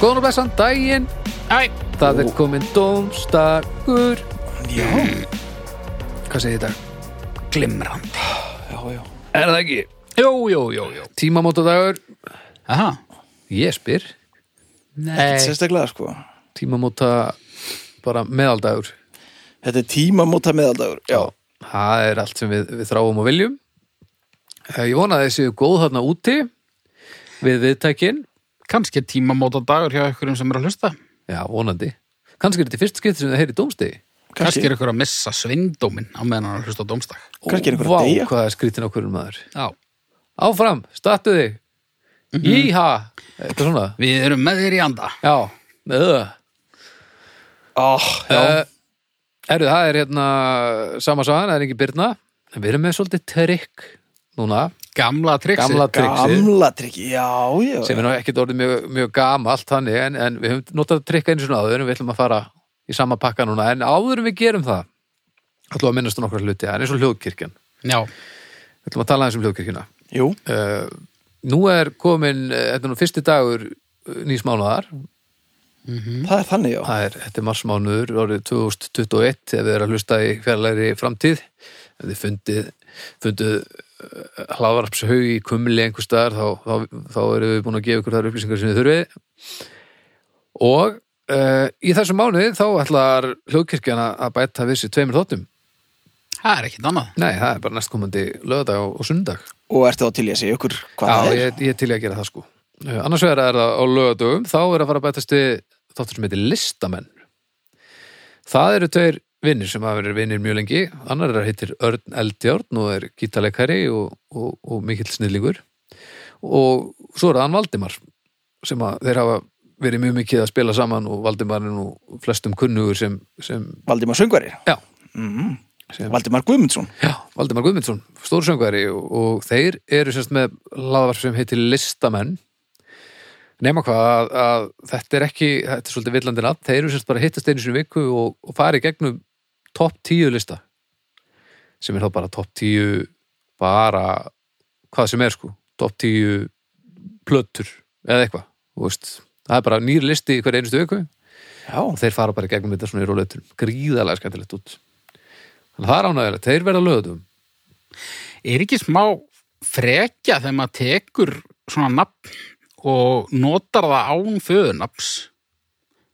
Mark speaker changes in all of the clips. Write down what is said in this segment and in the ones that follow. Speaker 1: Góðan og blessan daginn
Speaker 2: Æ,
Speaker 1: Það er komin dómstakur
Speaker 2: já,
Speaker 1: Hvað segir þetta?
Speaker 2: glimrandi Já, já
Speaker 1: Er það ekki? Jó, jó, jó, jó Tímamótadagur
Speaker 2: Aha, Eh,
Speaker 1: Ég spyr
Speaker 2: nei
Speaker 3: Sérstaklega sko
Speaker 1: Tímamóta bara meðaldagur
Speaker 3: Þetta er tímamóta meðaldagur Já,
Speaker 1: Það er allt sem við, við þráum og viljum Eh, Ég vona að þið séu góð þarna úti Við viðtækin
Speaker 2: Kannski tímamóta dagur hjá ykkurum sem er að hlusta
Speaker 1: Já, vonandi Kannski er þetta í fyrst skipti sem það heyri dómstegi
Speaker 2: Kannski er ykkur að missa svindómin á meðan hann er að hlusta á dómstak
Speaker 3: Kannski er einhver að
Speaker 1: Vá,
Speaker 3: deyja.
Speaker 1: hvað er skrítin á hverjum maður
Speaker 2: Já
Speaker 1: Áfram, startu þig
Speaker 3: Mhm.
Speaker 1: Íha Eitthvað svona
Speaker 2: Við erum með þér í anda
Speaker 1: Já, öða
Speaker 3: Ah, já.
Speaker 1: uh, Erðu, það er hérna sama sagan, það er ekki Birna en við erum með svolítið trikk núna,
Speaker 2: Gamla triksi
Speaker 1: gamla triksi
Speaker 3: Gamla trikki, já, já
Speaker 1: sem er nú ekkert orðið mjög, mjög gamalt þannig, en, en við höfum notað trikka eins og náður en við ætlum að fara í sama pakka núna en áður en við gerum það ætlum að minnast á nokkra hluti, það er eins og hljóðkirkjan
Speaker 2: Já,
Speaker 1: við ætlum að tala eins um hljóðkirkjuna
Speaker 3: Jú,
Speaker 1: uh, Nú er komin, eh, þetta er nú fyrsti dagur eh, nýs mánuðar Um.
Speaker 3: það er þannig, já
Speaker 1: Það er, þetta er marsmánuður árið 2021 ef þið er að hlusta í fjarlæri framtíð ef þið fundið, fundið hlaðvarpshaug í kumli einhver staðar þá, þá, þá erum við búin að gefa ykkur þar upplýsingar sem þið þurfið og uh, í þessum mánuði þá ætlar hljóðkirkjana að bæta við sér tveimur þóttum
Speaker 2: það er ekkit annað
Speaker 1: Nei, það er bara næstkomandi lögadag og, og sundag
Speaker 3: Og ertu þá til ég að segja ykkur hvað
Speaker 1: Já,
Speaker 3: það er?
Speaker 1: ég, ég er til í að gera það sko Eh, Annars vegar er það á lögadögum þá er að fara að bætast við þáttur sem heitir listamenn Það eru tveir vinnir sem hafa verið vinnir mjög lengi annar er heitir Örn Eldjárn og er gítarleikari og, og, og mikill snillingur og svo er það hann Valdimar sem að þeir hafa verið mjög mikið að spila saman og Valdimar er nú flestum kunnugur sem, sem
Speaker 3: Valdimar Söngvari
Speaker 1: já,
Speaker 3: mm.
Speaker 1: Sem-
Speaker 3: Valdimar Guðmundsson
Speaker 1: Já, Valdimar Guðmundsson, stórsöngveri og, og þeir eru semst með laðvarp sem heitir Listamenn nema hvað að, að þetta er ekki, þetta er svolítið villandi nafn þeir eru semst bara að hittast einu sinni í viku og, og fara í gegnum topp 10 lista sem er þá bara topp 10 bara hvað sem er sko, topp 10 plötur eða eitthvað þú veist. það er bara nýr listi í hverju einustu viku
Speaker 3: Já,
Speaker 1: og þeir fara bara í gegnum þetta svona í róleitur gríðalega skemmtilegt út þannig að það er ánægilegt, þeir verða lögatum
Speaker 2: Er ekki smá frekja þegar maður tekur svona nafn og notar það án föðunafns?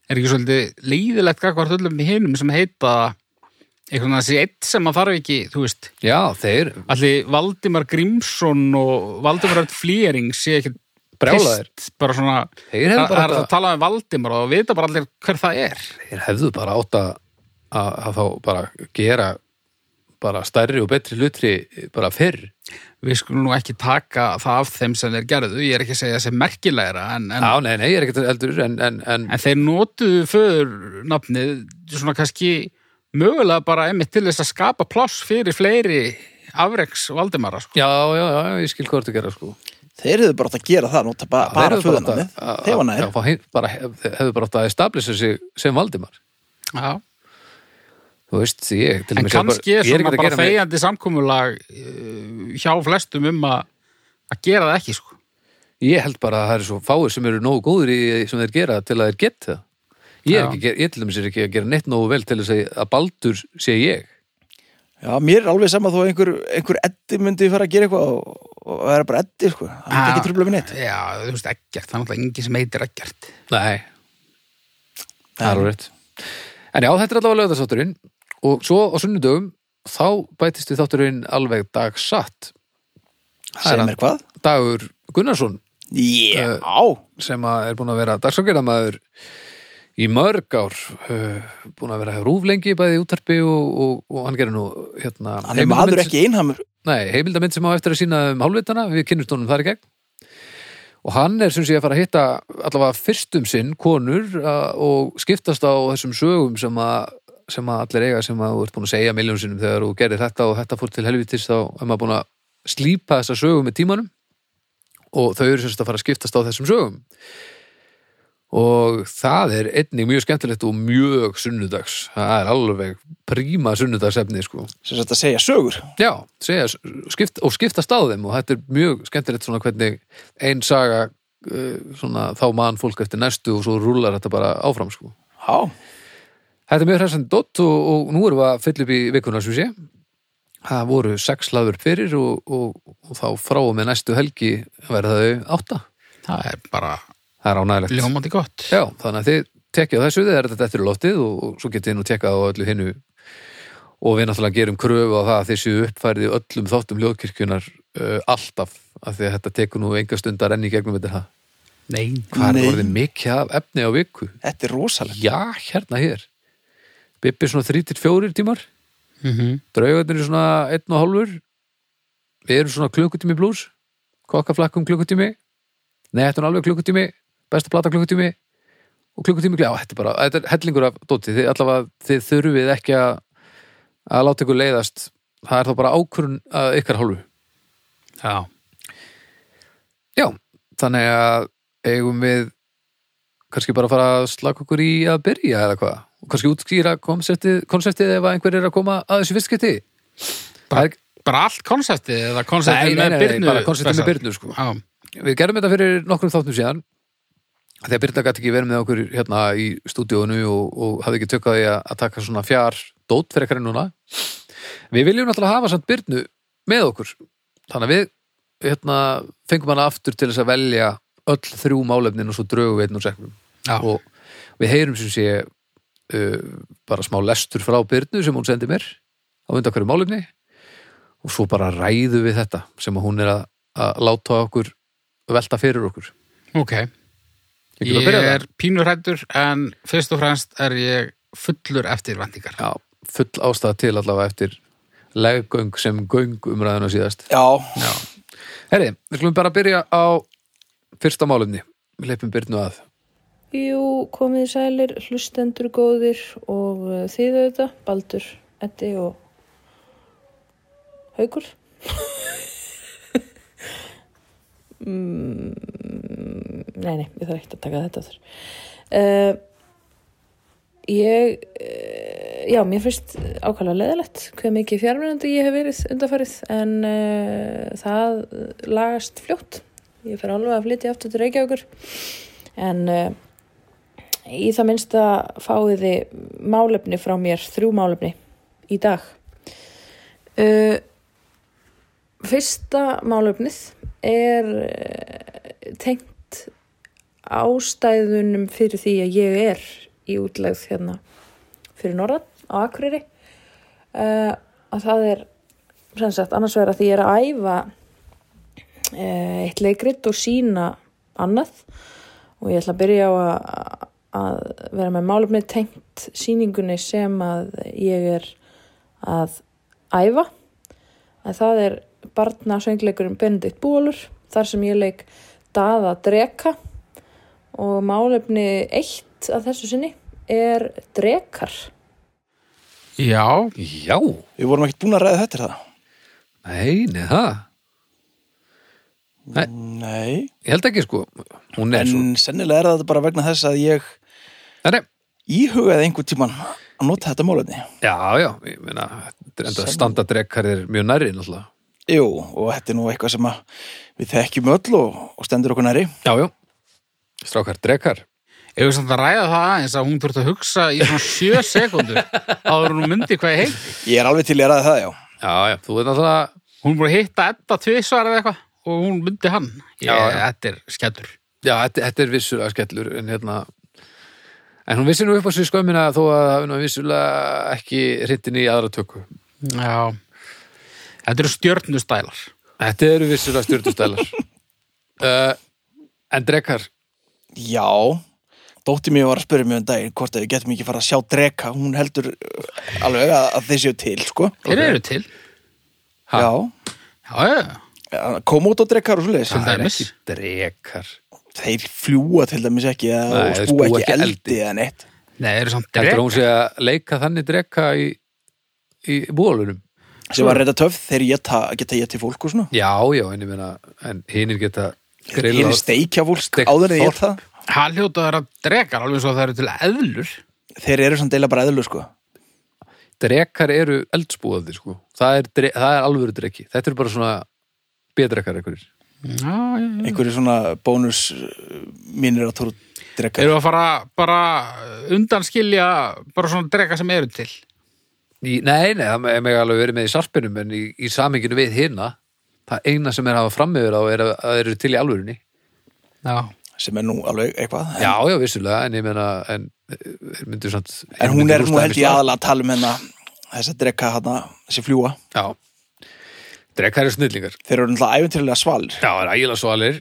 Speaker 2: Er ekki svolítið leiðilegt gagvart öllum í hinum sem heita eitthvað svona þessi eitt sem maður þarf ekki, þú veist,
Speaker 1: já, þeir
Speaker 2: allir Valdimar Grímsson og Valdimar Örn Flýring sé ekkert
Speaker 1: Brjálaðir.
Speaker 2: pist, bara svona,
Speaker 1: Þeir
Speaker 2: það
Speaker 1: hefðu
Speaker 2: það
Speaker 1: bara
Speaker 2: er að
Speaker 1: átt
Speaker 2: tala um Valdimar og það vita bara allir hver það er.
Speaker 1: að- þeir hefðu bara átt að, að, að þá bara gera bara stærri og betri hlutri bara fyrr
Speaker 2: Við skulum nú ekki taka það af þeim sem þeir gerðu, ég er ekki að segja þessi merkilegra, en, en
Speaker 1: já, nei, nei, ég er ekkert eldur en, en, en
Speaker 2: En þeir notuðu föðurnafnið svona kannski mögulega bara einmitt til þess að skapa pláss fyrir fleiri afreks Valdimara sko.
Speaker 1: já, já, já, ég skil hvað þú gera sko
Speaker 3: þeir eru bara átt að gera það Nóta ba bara
Speaker 1: Þeir hefðu átt að-
Speaker 3: föðunamið
Speaker 1: að-
Speaker 3: Þeir var nær
Speaker 1: já, fá hin- bara hef- hefðu bara átt að establisa sig sem Valdimar
Speaker 2: Já.
Speaker 1: þú veist, ég til
Speaker 2: En
Speaker 1: dæmis er
Speaker 2: kannski er
Speaker 1: ég
Speaker 2: svona
Speaker 1: ekkert að
Speaker 2: bara
Speaker 1: gera mig-
Speaker 2: þegjandi samkomulag uh, hjá flestum um að að gera það ekki sko.
Speaker 1: Ég held bara að það eru svo fáir sem eru nógu góður í sem þeir gera til að þeir geta það. Ég, er
Speaker 2: Já.
Speaker 1: ekki, að gera- ég til dæmis er ekki að gera neitt nógu vel til þess að, að baldur sé ég.
Speaker 3: Já, mér er alveg sama þó að einhver, einhver eddi myndi fara að gera eitthvað og, og vera bara eddi, sko. Það myndi
Speaker 2: Ah.
Speaker 3: ekki trubla með neitt.
Speaker 2: Já, þú veist, ekkert, það er náttúrulega engin sem heitir ekkert
Speaker 1: Nei, það er alveg rétt. En já, þetta er allavega lögðarsátturinn og svo á sunnudögum þá bætist við þátturinn alveg dagsatt. Það er
Speaker 3: Segir
Speaker 1: hann.
Speaker 3: mér hvað?
Speaker 1: Dagur Gunnarsson
Speaker 3: Já,
Speaker 1: sem að er búin að vera dagsangjörðamæður í mörg ár uh, búin að vera rúf lengi bæði í útarpi og, og, og hann gerir nú hérna,
Speaker 3: hann er maður
Speaker 1: heimildarmynd-
Speaker 3: ekki einhamur.
Speaker 1: Nei, heimildamind sem á eftir að sína um hálfvitana, við kynnumst honum þar í gegn. Og hann er sem sé að fara að hitta allavega fyrstum sinn konur a, og skiptast á þessum sögum sem að, sem að allir eiga sem að þú ert búin að segja miljón sinnum þegar þú gerir þetta og þetta fór til helvitis þá er maður búin að slípa þessa sögum með tímanum og þau eru sem sagt að fara að skiptast á þessum sögum. Og það er einnig mjög skemmtilegt og mjög sunnudags. Það er alveg príma sunnudagsefni sko.
Speaker 3: Sem sagt að segja sögur.
Speaker 1: Já, segja, skipt, og skipta staðum og þetta er mjög skemmtilegt svona hvernig ein saga eh, svona, þá mann fólk eftir næstu og svo rúlar þetta bara áfram sko.
Speaker 3: Já,
Speaker 1: Þetta er mjög hressandi dott og, og nú erum við að fylla upp í vikuna sem sé. Það voru sex hlaður fyrir og, og, og þá frá og með næstu helgi verða þau átta.
Speaker 2: það er bara
Speaker 1: Það er ánægilegt.
Speaker 2: ljómandi gott
Speaker 1: Já, þannig að þið tekja þessu, þið er þetta eftir loftið og, og svo getið þið nú tekjað á öllu hinnu og við náttúrulega gerum kröfu á það að þið séu uppfærið í öllum þáttum ljóðkirkjunar uh, alltaf af því að þetta tekur nú enga stundar enn í gegnum þetta það.
Speaker 2: Nei,
Speaker 1: Hvað
Speaker 3: Nei.
Speaker 1: er orðið mikið af efni á viku?
Speaker 3: þetta er rosalegt.
Speaker 1: Já, hérna hér. Bibbi svona 3-4 tímar,
Speaker 2: mm
Speaker 1: draugarnir eru svona 1 og hálfur, við erum svona klukkutími blús, kokkaflakkum klukkutími, nei, þetta er nú alveg klukkutími, besta plata klukkutími og klukkutími gljá, þetta er bara, þetta er hellingur af dóti, þið allavega, þið þurfið ekki að, að láta ykkur leiðast, það er þá bara ákvörun að ykkar hálfu.
Speaker 2: já
Speaker 1: Já, þannig að eigum við kannski bara að fara að slaka okkur í að byrja eða hvað og kannski útskýra konseptið, konseptið ef að einhver er að koma að þessu fyrstskipti Það er-
Speaker 2: bara allt konseptið eða
Speaker 1: Nei,
Speaker 2: konseptið
Speaker 1: nei,
Speaker 2: með
Speaker 1: nei,
Speaker 2: Birnu
Speaker 1: bara konseptið með
Speaker 2: Bessar?
Speaker 1: Birnu sko.
Speaker 2: Já,
Speaker 1: Við gerðum þetta fyrir nokkrum þáttum síðan þegar Birna gæti ekki verið með okkur hérna í stúdíónu og, og hafði ekki tökkað því að, að taka svona fjár dót fyrir ekkar en núna Við viljum náttúrulega hafa samt Birnu með okkur þannig að við hérna, fengum hana aftur til þess að velja öll þrjú málefnin og svo drögu við einn og seknum
Speaker 2: já,
Speaker 1: og við heyrum sem sé uh, bara smá lestur frá Byrnu sem hún sendi mér á undan hverju málefni og svo bara ræðu við þetta sem að hún er að, að láta okkur velta fyrir okkur
Speaker 2: ok
Speaker 1: Ég get að
Speaker 2: Ég
Speaker 1: byrja
Speaker 2: er pínurhættur en fyrst og fremst er ég fullur eftirvæntingar
Speaker 1: Já, full ástæða til allavega eftir leggöng sem göng umræðuna síðast
Speaker 3: Já,
Speaker 2: Já,
Speaker 1: Herri, við skulum bara byrja á fyrsta málefni við leipum Byrnu að
Speaker 4: Jú, komið þið sælir, hlustendur góðir og eh, þið auðvitað, Baldur, Eddi og Haukur. mm, nei, nei, ég þarf ekkert að taka þetta þurr. Uh, ég, uh, já, mér finnst ákvæmlega leðilegt hve mikið fjármennandi ég hef verið undanfarið en uh, það lagast fljótt. Ég fer alveg að flytja aftur til Reykjavíkur en uh, í það minnsta fáið þið málefni frá mér, þrjú málefni í dag. Uh, fyrsta málefnið er uh, tengt ástæðunum fyrir því að ég er í útlegð hérna fyrir norðan á Akureyri uh, að það er sem sagt annars vegar að því ég er að æfa uh, eitt leikrit og sína annað og ég ætla að byrja á að, að vera með málefni tengt sýningunni sem að ég er að æfa að það er barna söngleikurinn Benedikt Bólur þar sem ég leik Daða Dreka og málefni eitt að þessu sinni er Drekar
Speaker 2: já
Speaker 1: Já,
Speaker 3: við vorum ekkert búin að ræða þetta er það.
Speaker 1: nei, nei, það
Speaker 3: Nei,
Speaker 1: Ég held ekki sko, hún er svo
Speaker 3: en sennilega er þetta bara vegna þess að ég
Speaker 1: Nei, nei,
Speaker 3: íhugaði einhvern tíman að nota þetta málefni.
Speaker 1: Já, já, ég meina, þetta er enda
Speaker 3: Sem-
Speaker 1: standardrekkar er mjög nærri náttúrulega.
Speaker 3: Jú, og þetta er nú eitthvað sem að við þekkjum öll og, og stendur okkur næri.
Speaker 1: Já, já. Strákar, drekkar.
Speaker 2: Ef við samt að ræða það aðeins að hún þurft að hugsa í svona sjö sekundur áður en hún myndi hvað ég heit
Speaker 3: Ég er alveg til í að ræða það, já.
Speaker 1: Já, já, þú veit náttúrulega,
Speaker 2: Hún búið að hitta Edda tvisvar eða eitthvað og hún myndi hann Ég,
Speaker 1: Já, já.
Speaker 2: Þetta er skettur
Speaker 1: já, þetta, þetta er vissulega skellur, en hérna, en hún vissi nú upp á sig skömmina þó að það er vissulega ekki hrittin í aðra tökku.
Speaker 2: Já Þetta eru stjörnustælar
Speaker 1: Þetta eru vissulega stjórnustælar. uh, en drekkar,
Speaker 3: Já, dótti mér var að spyrja mig um daginn hvort að við getum ekki fara að sjá dreka hún heldur uh, alveg að, að þeir séu til sko.
Speaker 2: Þeir eru til
Speaker 1: Ha.
Speaker 3: Já,
Speaker 2: Já, já,
Speaker 3: koma út og drekar og svoleiðis
Speaker 2: Til
Speaker 1: Ah, það er
Speaker 2: dæmis.
Speaker 1: ekki drekkar.
Speaker 3: Þeir fljúa til dæmis ekki eða,
Speaker 1: Nei,
Speaker 3: og
Speaker 1: þeir
Speaker 3: spúa
Speaker 1: spúa
Speaker 3: ekki
Speaker 1: ekki
Speaker 3: eldi,
Speaker 1: eldi.
Speaker 3: eða neitt
Speaker 2: Nei, þeir eru samt
Speaker 1: Þetta er
Speaker 2: drek
Speaker 1: hún sé að leika þannig drekka í, í bólunum.
Speaker 3: sem var reynda töf þeir geta, geta ég til fólk og svona
Speaker 1: Já, já, en ég meina, en hinnir geta
Speaker 3: Þeir
Speaker 1: grillað.
Speaker 3: steikja fólk
Speaker 1: Steikt
Speaker 3: áður en ég
Speaker 1: þorp.
Speaker 3: það
Speaker 2: Hann hljóta að vera drekar alveg svo það eru til eðlur
Speaker 3: Þeir eru samt deila bara eðlu sko
Speaker 1: drekar eru eldsbúðandi sko. það, er, dre- það er alvöru dreki þetta eru bara svona bedrekar einhverjir
Speaker 2: Já, já, já.
Speaker 3: einhverju svona bónus eh, mínir að tóru drekka
Speaker 2: Eru að fara bara undanskilja bara svona drega sem eru til?
Speaker 1: Í, nei, nei, það er mig alveg verið með í sarpinum en í, í saminginu við hina það eina sem er að hafa framöver á er að það eru til í alvörunni.
Speaker 2: Já.
Speaker 3: sem er nú alveg eitthvað
Speaker 1: Já, já, vissulega, en ég meina en, er myndu samt
Speaker 3: en hún
Speaker 1: myndu
Speaker 3: er nú
Speaker 1: rústa
Speaker 3: held
Speaker 1: henni
Speaker 3: ég
Speaker 1: strax.
Speaker 3: aðalega að tala um hennar þess að drekka hana, þessi fljúa
Speaker 1: Já, drekkar er snillingar
Speaker 3: þeir eru náttúrulega æventýrlega svalir
Speaker 1: Já, það er ægilega svalir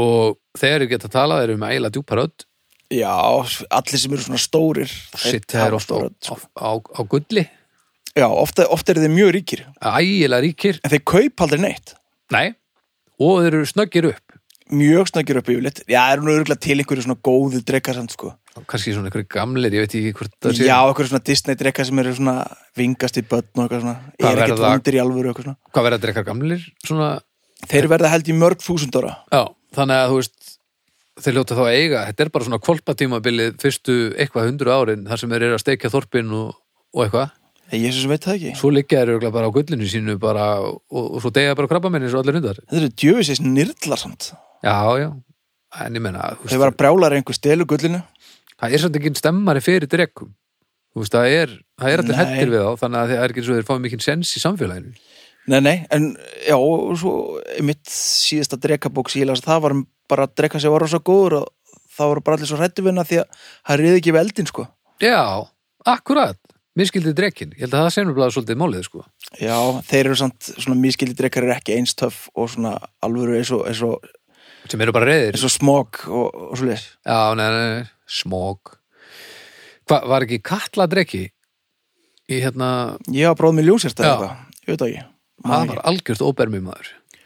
Speaker 1: og þegar þau geta talað erum við ægilega djúpa rödd
Speaker 3: já, allir sem eru svona stórir þeir
Speaker 1: sitt það er
Speaker 3: hafa
Speaker 1: ofta á,
Speaker 3: svona rödd,
Speaker 1: á,
Speaker 3: sko.
Speaker 1: á, á gulli
Speaker 3: já, ofta, ofta eru þeir mjög ríkir
Speaker 1: ægilega ríkir,
Speaker 3: en þeir kaupa aldrei neitt
Speaker 1: nei og þeir eru snöggir upp
Speaker 3: mjög snakir upp yfirleitt já, er nú örgulega til einhverju svona góðu drekkar samt sko
Speaker 1: kannski svona einhverju gamlir, ég veit ekki hvort það sé
Speaker 3: já, einhverju svona Disney drekkar sem eru svona vingast í börn og eitthvað svona
Speaker 1: Hvað
Speaker 3: er ekkert
Speaker 1: verða-
Speaker 3: vondir í alvöru og eitthvað svona
Speaker 1: hvað verða drekkar gamlir svona,
Speaker 3: þeir verða held í mörg þúsund ára
Speaker 1: já, þannig að þú veist þeir ljóta þá að eiga, þetta er bara svona kolpatímabilið fyrstu eitthvað hundru árin þar sem þeir eru að steikja þorpin og, og eitthvað,
Speaker 3: ég sem veit það ekki
Speaker 1: svo liggja þeir örugglega bara á gullinu sínu bara og, og svo deyja bara krabba minni svo allir hundar,
Speaker 3: Þetta eru djöfisins nýrlar samt.
Speaker 1: já, já en ég menna, þú
Speaker 3: Þau var að brjálar einhver stelu gullinu.
Speaker 1: það er samt ekki stemmari fyrir drekkum þú veist, það er, það er allir
Speaker 3: Nei.
Speaker 1: hættir við þá þannig að það er ekki eins og þeir fá mikinn sens í samfélaginu
Speaker 3: Nei, nei, en já, og svo mitt síðasta drekabók sem ég las, það var bara að drekka sem var rosa góður og það voru bara allir svo hrættu vinna því að það riði ekki við eldin, sko.
Speaker 1: já, akkurat, miskildið drekkin ég held að það sem er bara svolítið málið sko.
Speaker 3: Já, þeir eru samt, svona mískildi drekkar eru ekki eins töff og svona alvöru eins og, eins og,
Speaker 1: sem eru bara reyðir
Speaker 3: eins og smog og, og svo leis.
Speaker 1: já, nei, nei, nei, smók Hva, var ekki katla drekki í hérna
Speaker 3: Ég hafa bróð með ljósérsta
Speaker 1: Já.
Speaker 3: eitthvað, ég veit það ekki.
Speaker 1: það
Speaker 3: Man
Speaker 1: var algjört óbermi maður
Speaker 3: ekki.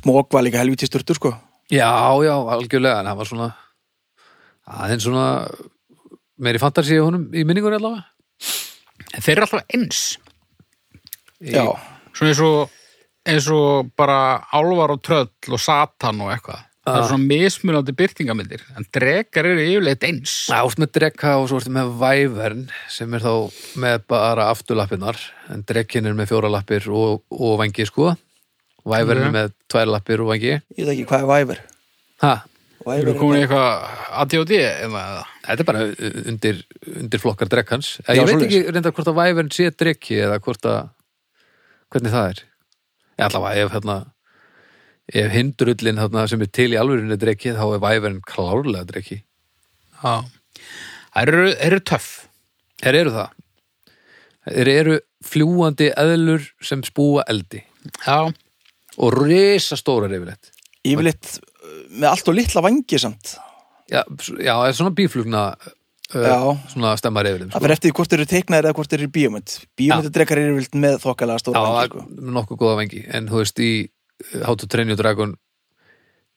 Speaker 3: Smog var líka helviti styrtur, sko.
Speaker 1: já, já, algjörlega, en það var svona aðeins svona meiri fantasíu honum í minningur allavega
Speaker 2: En þeir eru alltaf eins.
Speaker 1: Í-
Speaker 3: Já,
Speaker 2: Svona eins og, eins og bara álvar og tröll og satan og eitthvað. Það
Speaker 1: Ah.
Speaker 2: eru svona mismunandi byrtingamyndir. En dregar eru yfirleitt eins.
Speaker 1: Já, þú ert með drekka og svo ertu með vævern sem er þá með bara afturlappirnar en drekkin er með fjóra lappir og, og vangi sko vævern er
Speaker 2: Mhm.
Speaker 1: með tvær lappir og vangi
Speaker 3: ég veit ekki hvað er væver.
Speaker 1: ha,
Speaker 2: Þeir eru komin í eitthvað ADOD eða
Speaker 1: Þetta er bara uh, undir, undir flokkar drekkans Eða
Speaker 3: Já,
Speaker 1: Ég veit
Speaker 3: svoleiðis.
Speaker 1: ekki reyndar hvort að vævern sé drekki eða hvort að hvernig það er Ég allavega ef hérna ef hindrullin þarna sem er til í alvörinu drekki þá er vævern klárlega drekki
Speaker 2: Já. Það eru, þeir eru töff.
Speaker 1: Þeir eru það Þeir eru fljúandi eðlur sem spúa eldi
Speaker 2: Já.
Speaker 1: og risastórar yfirleitt
Speaker 3: Yfirleitt uh, með allt og litla vangi samt.
Speaker 1: já, s- já, það er svona bíflugna
Speaker 3: Já.
Speaker 1: uh, svona stemmar yfirleitt sko.
Speaker 3: Það fyrir eftir því hvort þeir eru teiknaðir eða hvort þeir eru bíómynd. Bíómyndadrekar eru vilt með þokkalega
Speaker 1: já,
Speaker 3: stóra
Speaker 1: það
Speaker 3: vangi,
Speaker 1: er
Speaker 3: sko.
Speaker 1: nokkuð góða vengi en þú veist, í uh, How to Train Your Dragon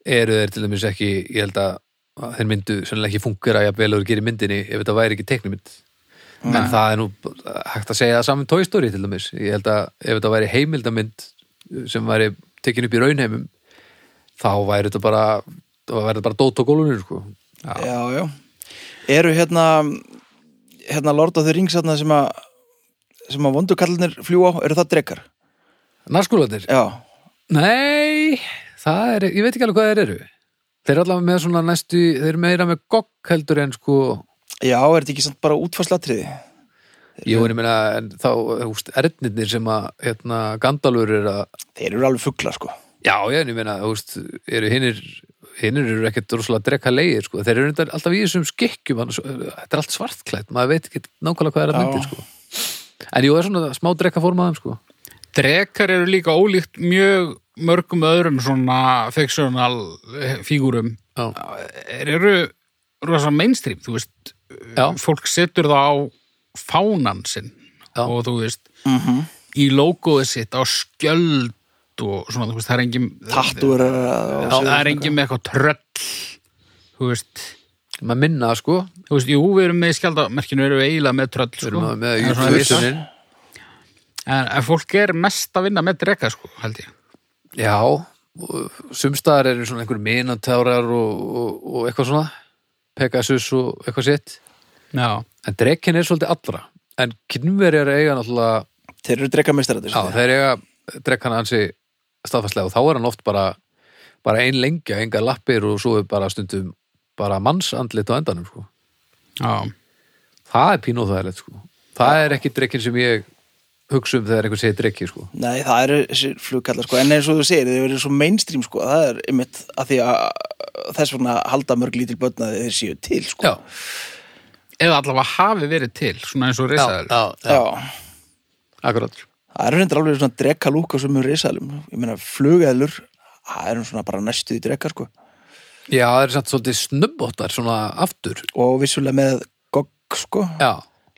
Speaker 1: eru þeir til dæmis ekki ég held að að þeir myndu sennilega ekki fungera jafnvel og þeir gerir myndinni ef þetta væri ekki teiknumynd en það er nú b- hægt að segja það saman Toy Story til dæmis ég held að ef þetta væri heimildamynd uh, sem væri tekin upp í raunheimum þá væri þetta bara þá væri þetta bara dót og gólunir sko.
Speaker 3: Já, já. Eru hérna, hérna Lord of the Rings hérna sem að sem að vondukallinir fljúa á, eru það drekar?
Speaker 1: Narskúlarnir
Speaker 3: Já.
Speaker 1: Nei, það er, ég veit ekki alveg hvað þeir eru. Þeir eru allavega með svona næstu, þeir eru meira með gogg heldur en sko,
Speaker 3: Já, er þetta ekki samt bara útfarslatriði?
Speaker 1: ég voru meina, en þá, húst, erðnirnir sem að, hérna, Gandalfur er að,
Speaker 3: Þeir eru alveg fugglar, sko.
Speaker 1: já, já, en ég meina, húst, eru hinnir, hinnir eru ekkert rosalega drekka leigir, sko, þeir eru reyndar alltaf í þessum skikkjum, annars, þetta er allt svartklætt, maður veit ekki nákvæmlega hvað er að
Speaker 3: Já.
Speaker 1: myndi, sko. En jú, það er svona smá drekka formaðum, sko.
Speaker 2: Drekar eru líka ólíkt mjög mörgum öðrum svona fictional eh, fígúrum
Speaker 1: Já.
Speaker 2: Þeir eru rosa mainstream, þú veist
Speaker 1: Já.
Speaker 2: fólk setur það á fánan sinn
Speaker 1: Já.
Speaker 2: og þú veist
Speaker 1: Mhm.
Speaker 2: í logoið sitt á skjöld og svona, þú veist, það er engin
Speaker 3: Tattúr er
Speaker 2: Já,
Speaker 3: að...
Speaker 2: það er engin með eitthvað tröll þú veist,
Speaker 1: Maður minna, sko,
Speaker 2: þú veist, jú, við erum með skjaldamerkinu erum við eiginlega með tröll
Speaker 1: við
Speaker 2: sko.
Speaker 1: erum að- með
Speaker 2: en, svona viss-
Speaker 1: jötuninn.
Speaker 2: en, en fólk er mest að vinna með drega, sko, held ég
Speaker 1: Já, sumstaðar eru svona einhver minotárar og, og, og eitthvað svona Pegasus og eitthvað sitt
Speaker 2: Já,
Speaker 1: en drekkin er svolítið allra en kynverjar eiga náttúrulega
Speaker 3: Þeir eru drekameistarættir,
Speaker 1: já,
Speaker 3: sko.
Speaker 1: þeir eiga drekkan ansi staðfastlega og þá er hann oft bara bara ein lengja, enga lappir og svo er bara stundum bara mannsandlit á endanum sko.
Speaker 2: já,
Speaker 1: það er pínóþægilegt sko. það er ekki drekkin sem ég hugsa um þegar einhver segir drekki sko.
Speaker 3: Nei, það eru þessir flugkallar sko, en eins og þú segir, þeir eru svo mainstream sko, það er einmitt að því að þess vegna halda mörg lítil börn að þeir séu til sko.
Speaker 1: já,
Speaker 2: eða allavega hafi verið til svona eins og
Speaker 1: já,
Speaker 2: risaður
Speaker 1: já, já,
Speaker 3: já.
Speaker 1: akkurat
Speaker 3: Það eru reyndar alveg svona drekka lúka sem eru risalum, ég meina flugeðlur, það eru svona bara næstuði drekka sko,
Speaker 1: já, það er samt svolítið snubbóttar svona aftur
Speaker 3: og vissulega með gogg sko,
Speaker 1: já,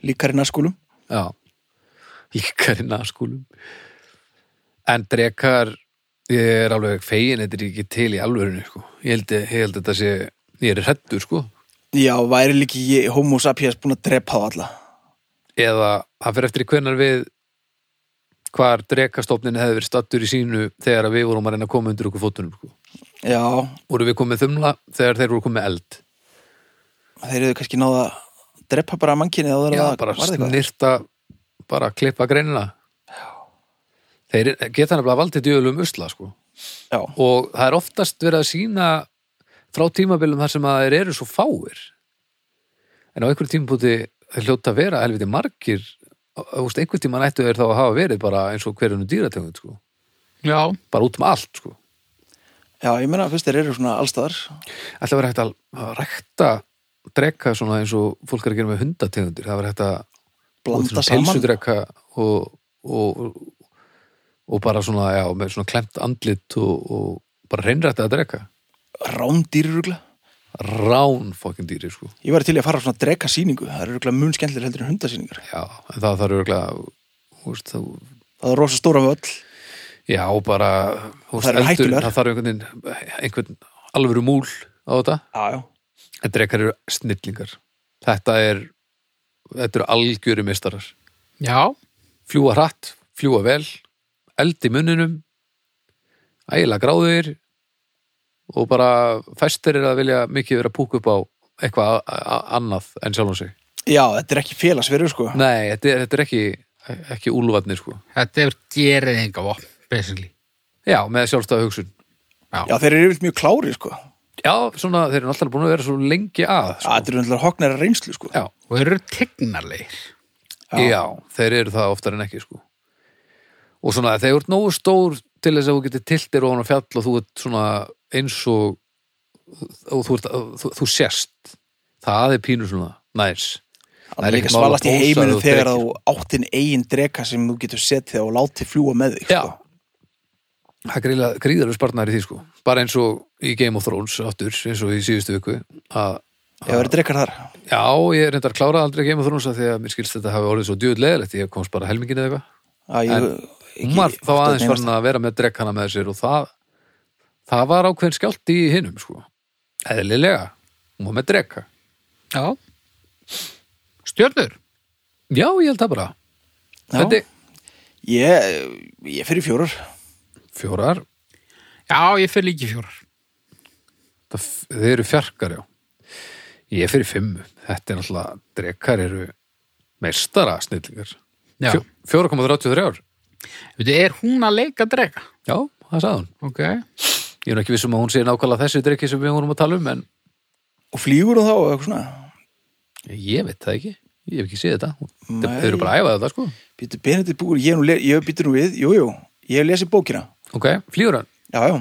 Speaker 3: líkar í naskúlum.
Speaker 1: já líkar í naskúlum en drekar ég er alveg fegin, þetta er ekki til í alvörinu sko. ég held, ég held að þetta sé ég er hrettur sko
Speaker 3: Já, væri líki ég- homo sapiens búin að drepa á alla.
Speaker 1: eða það fyrir eftir í hvenar við hvar drekastofnin hefði verið stattur í sínu þegar að við vorum að reyna að koma undir okkur fótunum sko.
Speaker 3: Já,
Speaker 1: voru við komið þumla þegar þeir voru komið eld
Speaker 3: þeir eru kannski náða að drepa bara mannkynið áður en
Speaker 1: Já,
Speaker 3: það
Speaker 1: bara
Speaker 3: varð eitthvað.
Speaker 1: snirta bara að klippa greinina þeir geta nefnilega valdið djöðlum usla sko
Speaker 3: Já,
Speaker 1: og það er oftast verið að sína frá tímabilum þar sem að þeir eru svo fáir en á einhverjum tímabúti þeir hljóta að vera helviti margir Þú veist, einhvern tímann ættu þeir þá að hafa verið bara eins og hverjunum dýrategund sko.
Speaker 2: já,
Speaker 1: bara út um allt sko.
Speaker 3: já, ég meina, fyrst þeir eru svona allstaðar.
Speaker 1: ætla að vera hægt að að rækta drekka svona eins og fólk er að gera með hundategundir það var hægt að
Speaker 3: Blanda saman.
Speaker 1: pilsudrekka og, og, og, og bara svona, já, með svona klemt andlit og, og bara reynrætti að drekka
Speaker 3: Rándýrurugla.
Speaker 1: rán fokkin dýri sko
Speaker 3: Ég var til í að fara á svona drega síningu, það eru ruglega mun skemmtilegur heldur en hundasýningar.
Speaker 1: já, en það þarf örgulega veist, það,
Speaker 3: Það er rosa stóra völl.
Speaker 1: já, bara þú veist,
Speaker 3: Það eru hættulegar.
Speaker 1: það þarf einhvern veginn einhvern alvöru múl á þetta
Speaker 3: Já, já.
Speaker 1: en drekar eru snillingar þetta er þetta eru algjöru mistarar
Speaker 2: já
Speaker 1: fljúa hratt, fljúa vel eld í munninum ægilega gráðir og bara fæstir er að vilja mikið vera að púka upp á eitthvað a- a- annað en sjálfum sig
Speaker 3: Já, þetta er ekki félagsverður, sko.
Speaker 1: nei, þetta er, þetta er ekki ekki úlfarnir sko
Speaker 2: þetta er gerið enga vopn, basically
Speaker 1: já, með sjálfstæða hugsun
Speaker 3: Já, þeir eru yfirlt mjög klári, sko.
Speaker 1: já, svona, þeir eru alltaf búin að vera svo lengi að
Speaker 3: Já,
Speaker 1: sko.
Speaker 3: þetta eru náttúrulega hoknæra reynslu, sko.
Speaker 1: já,
Speaker 2: og þeir eru tegnarlegir
Speaker 1: já. þeir eru það oftar en ekki sko og svona, þeir eru nógu stór til þess að þú getur tiltir ofan á fjall og þú ert svona eins og og þú, ert, þú, þú sérst það er pínur svona, næs
Speaker 3: Það er
Speaker 1: ekkert
Speaker 3: líka
Speaker 1: mál að
Speaker 3: svalast í
Speaker 1: pósa ef
Speaker 3: heiminu
Speaker 1: þú
Speaker 3: þegar
Speaker 1: drekir,
Speaker 3: þú áttin eigin drega sem þú getur setið og látið fljúa með þig,
Speaker 1: Já.
Speaker 3: sko.
Speaker 1: það gríla, gríðarlega sparnar í því sko bara eins og í Game of Thrones aftur, eins og í síðustu viku að,
Speaker 3: Já, það eru drekar þar.
Speaker 1: já, ég reyndar kláraði aldrei Game of Thrones af því að mér skilst þetta hafi orðið svo djöðleðilegt ég komst bara helmingin eða eitthvað
Speaker 3: Já, ég,
Speaker 1: En hún var þá aðeins farin að vera með drekkana með sér og það það var ákveðin skjált í hinnum sko eðlilega, hún var með drekka
Speaker 2: já stjörnur,
Speaker 1: já, ég held það bara þetta
Speaker 3: Já,
Speaker 1: er
Speaker 3: ég, ég fyrir fjórar.
Speaker 1: fjórar,
Speaker 2: já, ég fyrir líki fjórar
Speaker 1: það, þið eru fjarkar já ég er fyrir fimmu, þetta er náttúrulega drekkar eru meistara snillingar
Speaker 2: já,
Speaker 1: Fjó- 4,33 ár
Speaker 2: Veitu, er hún að leika drega?
Speaker 1: já, það sagði hún
Speaker 2: ok,
Speaker 1: ég er nú ekki vissum að hún sé nákvæmlega þessi drekki sem við vorum að tala um en
Speaker 3: Og flýgur þú þá og eitthvað svona?
Speaker 1: ég veit það ekki, ég hef ekki séð þetta Hún-
Speaker 3: Nei.
Speaker 1: þau eru bara að æfa þetta sko
Speaker 3: Býtu, Benedikt Búkur, ég, hef nú le- ég býtu nú við, jú, jú, ég hef lesið bókina.
Speaker 1: ok, flýgur hann,
Speaker 3: Já, já.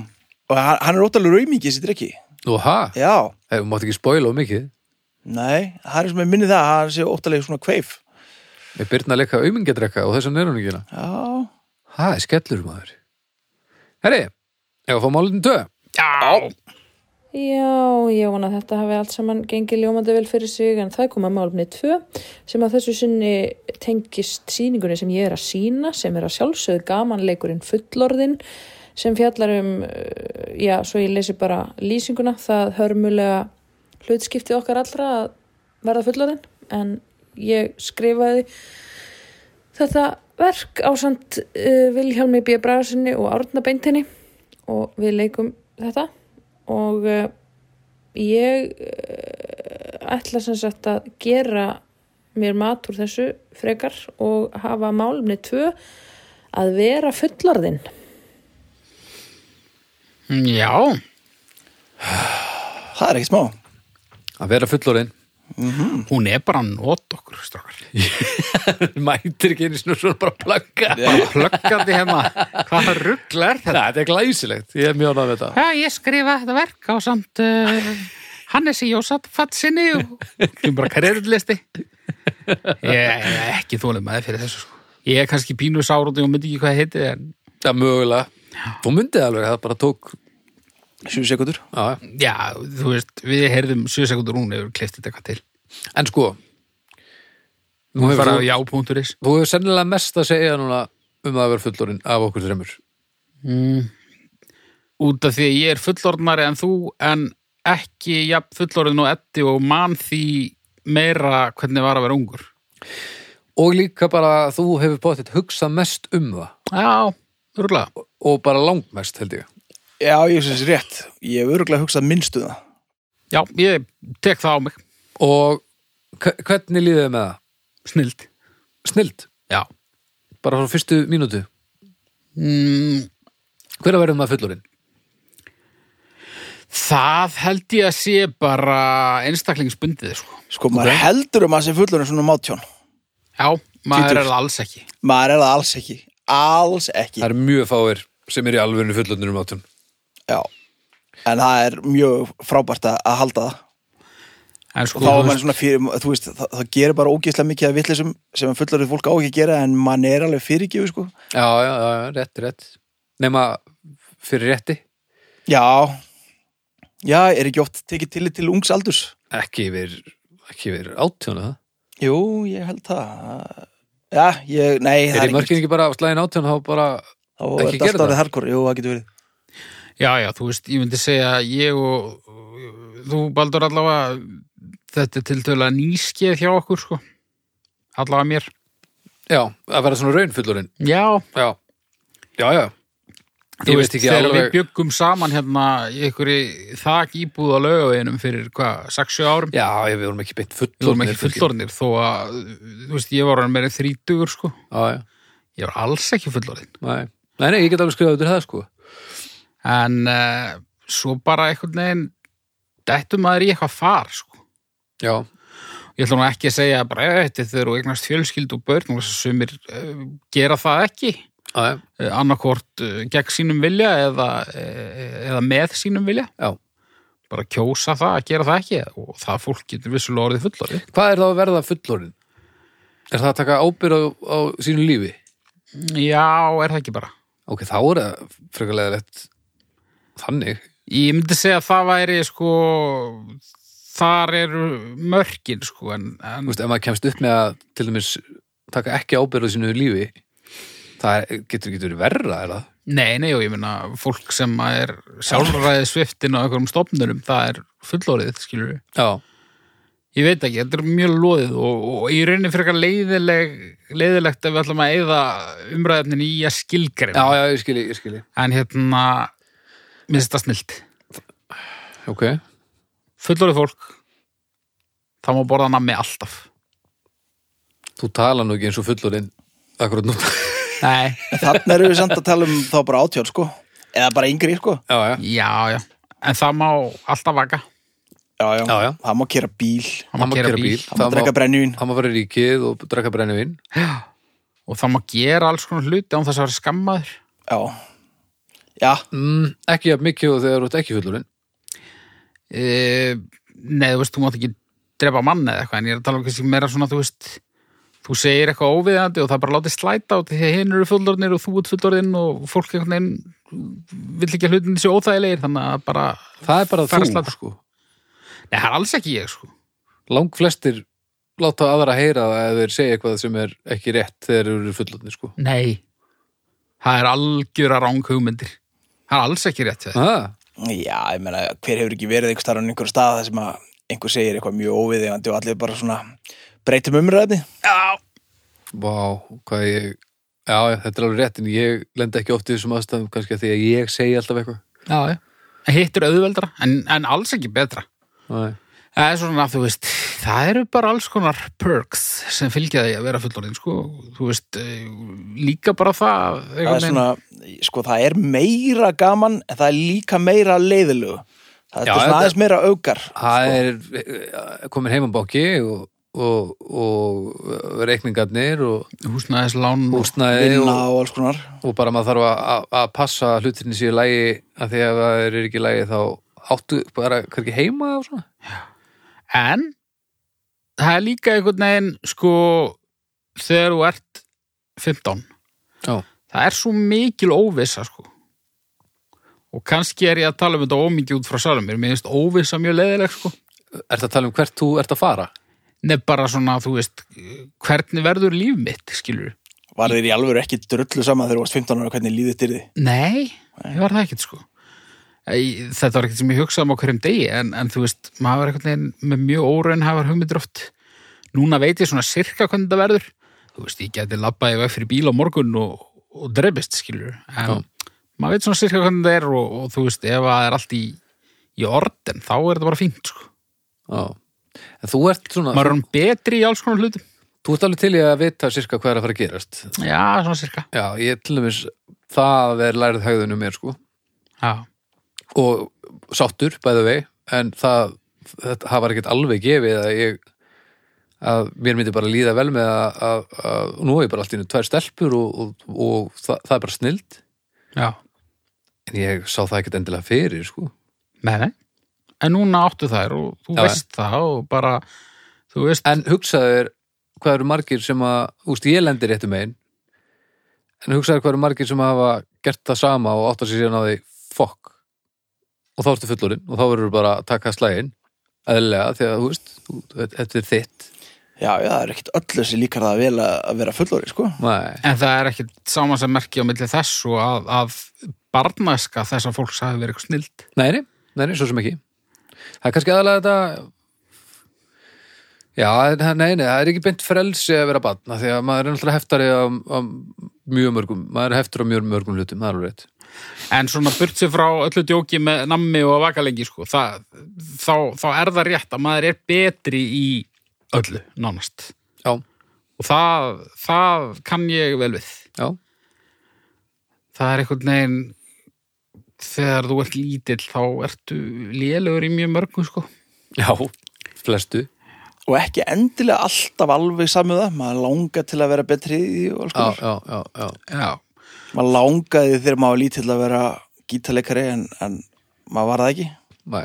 Speaker 3: Og hann, hann er óttalega raumingi þessi drekki.
Speaker 1: nú ha
Speaker 3: Já,
Speaker 1: Ef við mátt ekki spoila of mikið
Speaker 3: nei, það er sem ég minni það, að hann sé óttalega svona kveif.
Speaker 1: Við byrna að leika aumingjadrekka og þessan er hún ekki hérna.
Speaker 3: Já,
Speaker 1: Það er skellur maður Herri, ef að fá málinn tvö
Speaker 2: já
Speaker 4: Já, ég vona að þetta hafi allt saman gengið ljómandi vel fyrir sig en það kom að málumni 2 sem að þessu sinni tengist síningunni sem ég er að sína sem er að sjálfsögðu gamanleikurinn fullorðinn sem fjallar um, eh, já, svo ég lesi bara lýsinguna, það hörmulega hlutskiptið okkar allra að verða fullorðinn en ég skrifaði þetta verk ásamt uh, Vilhjálmi B. Bragarsinni og Árna Beintinni og við leikum þetta og uh, ég uh, ætla sem sagt að gera mér mat úr þessu frekar og hafa málumni tvö að vera fullarðinn
Speaker 2: já
Speaker 3: það er ekki smá
Speaker 1: að vera fullorinn
Speaker 2: Hún er bara að nota okkur, strókar.
Speaker 1: mætir ekki einu sinni og svona bara plugga
Speaker 2: Bara plöggandi hérna. Hvað rugglar þetta?
Speaker 1: Nei, þetta er glæsilegt, ég er mjög ánægð með þetta
Speaker 2: Já, ég skrifa þetta verk á samt uh, Hannes í Jósatfatsinni og kemur bara kreditlisti. Ég er ekki þólið maður fyrir þessu. sko. Ég er kannski pínu sár út og ég myndi ekki hvað það heiti, en
Speaker 1: Já, mögulega Þú myndið alveg, það bara tók
Speaker 3: sjú sekundur
Speaker 1: já, já.
Speaker 2: já, þú veist, við heyrðum 7 sekundur hún hefur kleift þetta eitthvað til.
Speaker 1: En sko Nú
Speaker 2: Hún
Speaker 1: hefur
Speaker 2: fara á
Speaker 1: þú,
Speaker 2: já.is.
Speaker 1: þú hefur sennilega mest að segja núna um að vera fullorinn af okkur þreymur
Speaker 2: Út af því að ég er fullorðnari en þú, en ekki ja, fullorðin og etti og man því meira hvernig var að vera ungur.
Speaker 1: Og líka bara að þú hefur bóttið hugsað mest um það
Speaker 2: Já, rúglega.
Speaker 1: og bara langmest held ég
Speaker 3: já, ég syns rétt, ég hef öruglega hugsað minnstu það
Speaker 2: Já, ég tek það á mig.
Speaker 1: Og hve- hvernig líðið þér með það?
Speaker 2: Snild.
Speaker 1: Snild,
Speaker 2: Já.
Speaker 1: bara frá fyrstu mínútu
Speaker 2: Mm,
Speaker 1: Hver að verðum að fullorinn?
Speaker 2: það held ég að sé bara einstaklingsbundið, sko.
Speaker 3: sko, maður heldur um að sé fullur svona mátjón
Speaker 2: Já, maður er
Speaker 3: Tvítugt.
Speaker 2: það alls ekki.
Speaker 3: maður er það alls ekki, alls ekki
Speaker 1: Það eru mjög fáir sem er í alveginu fullorinn um átjón
Speaker 3: já, en það er mjög frábært að að halda það
Speaker 2: En sko,
Speaker 3: og þá er
Speaker 2: þú
Speaker 3: mann svona fyrir, þú veist, það, það gerir bara ógeðslega mikið að vitleysum sem fullorðið fólk á ekki að gera en mann er alveg fyrirgefið sko
Speaker 1: Já, já, já, já, rétt, rétt Nema fyrir rétti
Speaker 3: já, já, er ekki oft tekið tillit til ungs aldurs
Speaker 1: Ekki yfir, ekki yfir átjónu það
Speaker 3: jú, ég held það já, ég, nei, það
Speaker 1: Er
Speaker 3: er
Speaker 1: í mörkin ekki bara slæðin átjón þá bara
Speaker 3: þá
Speaker 1: ekki gera
Speaker 3: er þetta alltaf
Speaker 1: það?
Speaker 3: orðið hardcore, jú, það getur verið
Speaker 2: Já, já, þú veist, ég myndi segja að ég og þú baldur allavega þetta er til tölulega nýskeið hjá okkur, sko. Allavega mér.
Speaker 1: Já, að vera svona raun fullorinn
Speaker 2: Já,
Speaker 1: Já, já, já Þú
Speaker 2: ég
Speaker 1: veist ekki
Speaker 2: þegar við
Speaker 1: alveg
Speaker 2: bjöggum saman hérna í einhverju þak íbúð á laugaveginum fyrir hvað, 6-7 árum.
Speaker 1: Já, ég, við vorum ekki beint fullorinn
Speaker 2: Við vorum ekki fullorðnir þó að, þú veist, ég var hann meira þrítugur, sko.
Speaker 1: Já, já,
Speaker 2: Ég var alls ekki fullorðin.
Speaker 1: nei Nei, nei, ég get alveg skrifað undir það sko
Speaker 2: en uh, svo bara einhvern veginn dættum maður í eitthvað far sko.
Speaker 1: Já,
Speaker 2: ég ætla nú ekki að segja bara "Eh, þetta þau eru eignast fjölskyld og börn og þessu sumir uh, gera það ekki
Speaker 1: já, já,
Speaker 2: uh, annarkvort uh, gegn sínum vilja eða, uh, eða með sínum vilja
Speaker 1: já
Speaker 2: bara kjósa það að gera það ekki og það fólk getur vissulega orðið fullorði
Speaker 1: Hvað er þá að verða fullorinn? Er það að taka ábyrð á, á sínu lífi?
Speaker 2: já, er það ekki bara
Speaker 1: Ok, þá er það frekarlega lett þannig.
Speaker 2: ég myndi segja að það væri sko þar eru mörkin sko en, en
Speaker 1: Þú veist, ef maður kemst upp með að til dæmis taka ekki ábyrð á sínu lífi, það er, getur getur verið verra, er það?
Speaker 2: Nei, nei, og ég meina fólk sem að er sjálfræði sviftin á einhverjum stofnurum, það er fullorðið, skilur við.
Speaker 1: Já,
Speaker 2: Ég veit ekki, þetta er mjög loðið og, og ég reynir fyrir eitthvað leiðileg, leiðilegt ef við ætlum að eyða umræðinni í að skilgreina.
Speaker 1: já, já, ég skili, ég skili.
Speaker 2: En hérna, minnst þetta snilt.
Speaker 1: Ok,
Speaker 2: Fullorðið fólk, það má borða nammi alltaf.
Speaker 1: þú tala nú ekki eins og fullorinn akkurat nú.
Speaker 2: Nei,
Speaker 3: þannig erum við samt að tala um þá bara átjón sko eða bara yngri sko
Speaker 1: já, já,
Speaker 2: já, já, en það má alltaf vaka.
Speaker 3: já, já,
Speaker 1: já, já.
Speaker 3: það má kera bíl
Speaker 2: Það má keyra bíl.
Speaker 3: það má drekka brennivín
Speaker 1: Það má fara í ríkið og drekka brennivinn.
Speaker 2: Og það má gera alls konar hluti án þess að vera skammaður.
Speaker 3: já, já,
Speaker 1: Mm, ekki jafn mikið og þegar þú ert ekki fullorinn.
Speaker 2: Eh, Nei, þú veist, þú mátt ekki drepa mann eða eitthvað, en ég er að tala um kannski meira svona, þú veist, þú segir eitthvað óviðandi og það bara látið slæta út af því að hinn eru fullorðnir og þú ert fullorðinn og fólk einhvern veginn vill ekki að hlutin séu óþægilegir, þannig að bara
Speaker 1: Það er bara
Speaker 2: Fara að
Speaker 1: þú,
Speaker 2: slátra.
Speaker 1: sko.
Speaker 2: Nei, það er alls ekki ég, sko.
Speaker 1: Lang flestir láta aðra heyra það ef þeir segja eitthvað sem er ekki rétt þegar þeir eru fullorinn, sko.
Speaker 2: Nei. Það er algjöra ráng hugmyndir. Það er alls ekki rétt við.
Speaker 1: Ah,
Speaker 3: já, ég meina hver hefur ekki verið einhver starf á einhver stað þar sem að einhver segir eitthvað mjög óviðegandi og allir bara svona breytum umræðni
Speaker 2: Já.
Speaker 1: Vá, hvað ég Já, já, þetta er alveg rétt en ég lenda ekki oft í þessum aðstæðum kannski að því að ég segi alltaf eitthvað
Speaker 2: Já, já. En Hitt er auðveldra, en, en alls ekki betra.
Speaker 1: Nei.
Speaker 2: Það er svona, þú veist, það eru bara alls konar perks sem fylgja því að vera fullorðin, sko. Þú veist, eh, líka bara það,
Speaker 3: það er
Speaker 2: einhvern veginn.
Speaker 3: svona, sko það er meira gaman en það er líka meira leiðilegu
Speaker 1: Já,
Speaker 3: Það er svona
Speaker 1: þetta-
Speaker 3: aðeins meira augar
Speaker 1: Það er eh, komin heimambóki og, og, og eh, reikningarnir og
Speaker 2: húsnæðislán og
Speaker 1: húsnæði
Speaker 3: vinna
Speaker 1: og,
Speaker 3: og alls konar
Speaker 1: og bara maður þarf að- að- að passa að hlutinni séu í lagi að því að það er ekki í lagi þá áttu bara hvergi heima og svona
Speaker 2: en það er líka einhvern veginn sko þegar þú ert 15
Speaker 1: Já.
Speaker 2: það er svo mikil óvissa sko og kannski er ég að tala um þetta ómikið út frá sjálfum mér, mér finnst óvissa mjög leiðileg sko
Speaker 1: Ertu að tala um hvert þú ert að fara?
Speaker 2: nefn bara svona, þú veist eh, hvernig verður líf mitt, skilur
Speaker 3: Var þeir í alvöru ekki drullu saman þegar þú varst 15 ára hvernig líðið til því?
Speaker 2: nei, ég var það ekkert sko Æ, þetta var ekkert sem ég hugsaði um á hverjum degi en, en þú veist, maður er einhvern veginn með mjög óraunhafar hugmyndir oft núna veit ég svona sirka hvernig þetta verður þú veist, ég geti labbað í veg fyrir bíl á morgun og, og drefist, skilur en maður veit svona sirka hvernig þetta er og, og þú veist, ef það er allt í í orden, þá er þetta bara fínt sko.
Speaker 1: Já. En þú ert svona,
Speaker 2: maður er hann betri í alls konar hlutum
Speaker 1: þú ert alveg til í að vita sirka hvað er að fara að gerast.
Speaker 2: já, svona sirka
Speaker 1: Já, ég til dæmis, það er lærið hægðunum mér sko
Speaker 2: já.
Speaker 1: og sáttur bæðu vei en það, þetta, það var ekkert alveg gefið að ég að mér myndi bara líða vel með að, að, að nú er ég bara allt í einu tvær stelpur og, og, og það, það er bara snild
Speaker 2: Já.
Speaker 1: en ég sá það ekkert endilega fyrir sko.
Speaker 2: Nei, nei. En núna áttu þær og þú
Speaker 1: Já,
Speaker 2: veist það og bara, þú veist,
Speaker 1: en hugsaðu þér hvað eru margir sem að úst, ég lendir réttum einn en hugsaðu þér hvað eru margir sem hafa gert það sama og áttar sér síðan á því fokk og þá ertu fullorinn og þá verður bara að taka slægin eðlilega því að þú veist þú- þetta er þitt
Speaker 3: Já, já, það er ekkit öllu sem líkar það vel að að vera fullori, sko
Speaker 1: Nei.
Speaker 2: en það er ekkit saman sem merki á milli þess og að, að barnaska þessa fólks hafi verið eitthvað snild.
Speaker 1: Nei, nei, nei, nei, svo sem ekki Það er kannski aðalega þetta Já, það- nei, nei, það er ekki beint frelsi að vera batna því að maður er náttúrulega heftari á, á mjög mörgum, maður er heftur á mjög mörgum hlutum, það er alveg rétt
Speaker 2: En svona burt sér frá öllu djóki með nammi og vakalengi, sko, það, þá, þá er það rétt að maður er betri í öllu, nánast.
Speaker 1: Já,
Speaker 2: Og það, það kann ég vel við.
Speaker 1: já,
Speaker 2: Það er einhvern veginn, þegar þú ert lítill, þá ertu lélegur í mjög mörgu, sko.
Speaker 1: já, flestu
Speaker 3: Og ekki endilega alltaf alveg samið það Maður langar til að vera betri í því og alls
Speaker 1: Já,
Speaker 3: konar
Speaker 1: já, já, já
Speaker 2: Já.
Speaker 3: Maður langaði þegar maður var lítill að vera gítarleikari en, en maður var það ekki
Speaker 1: Nei,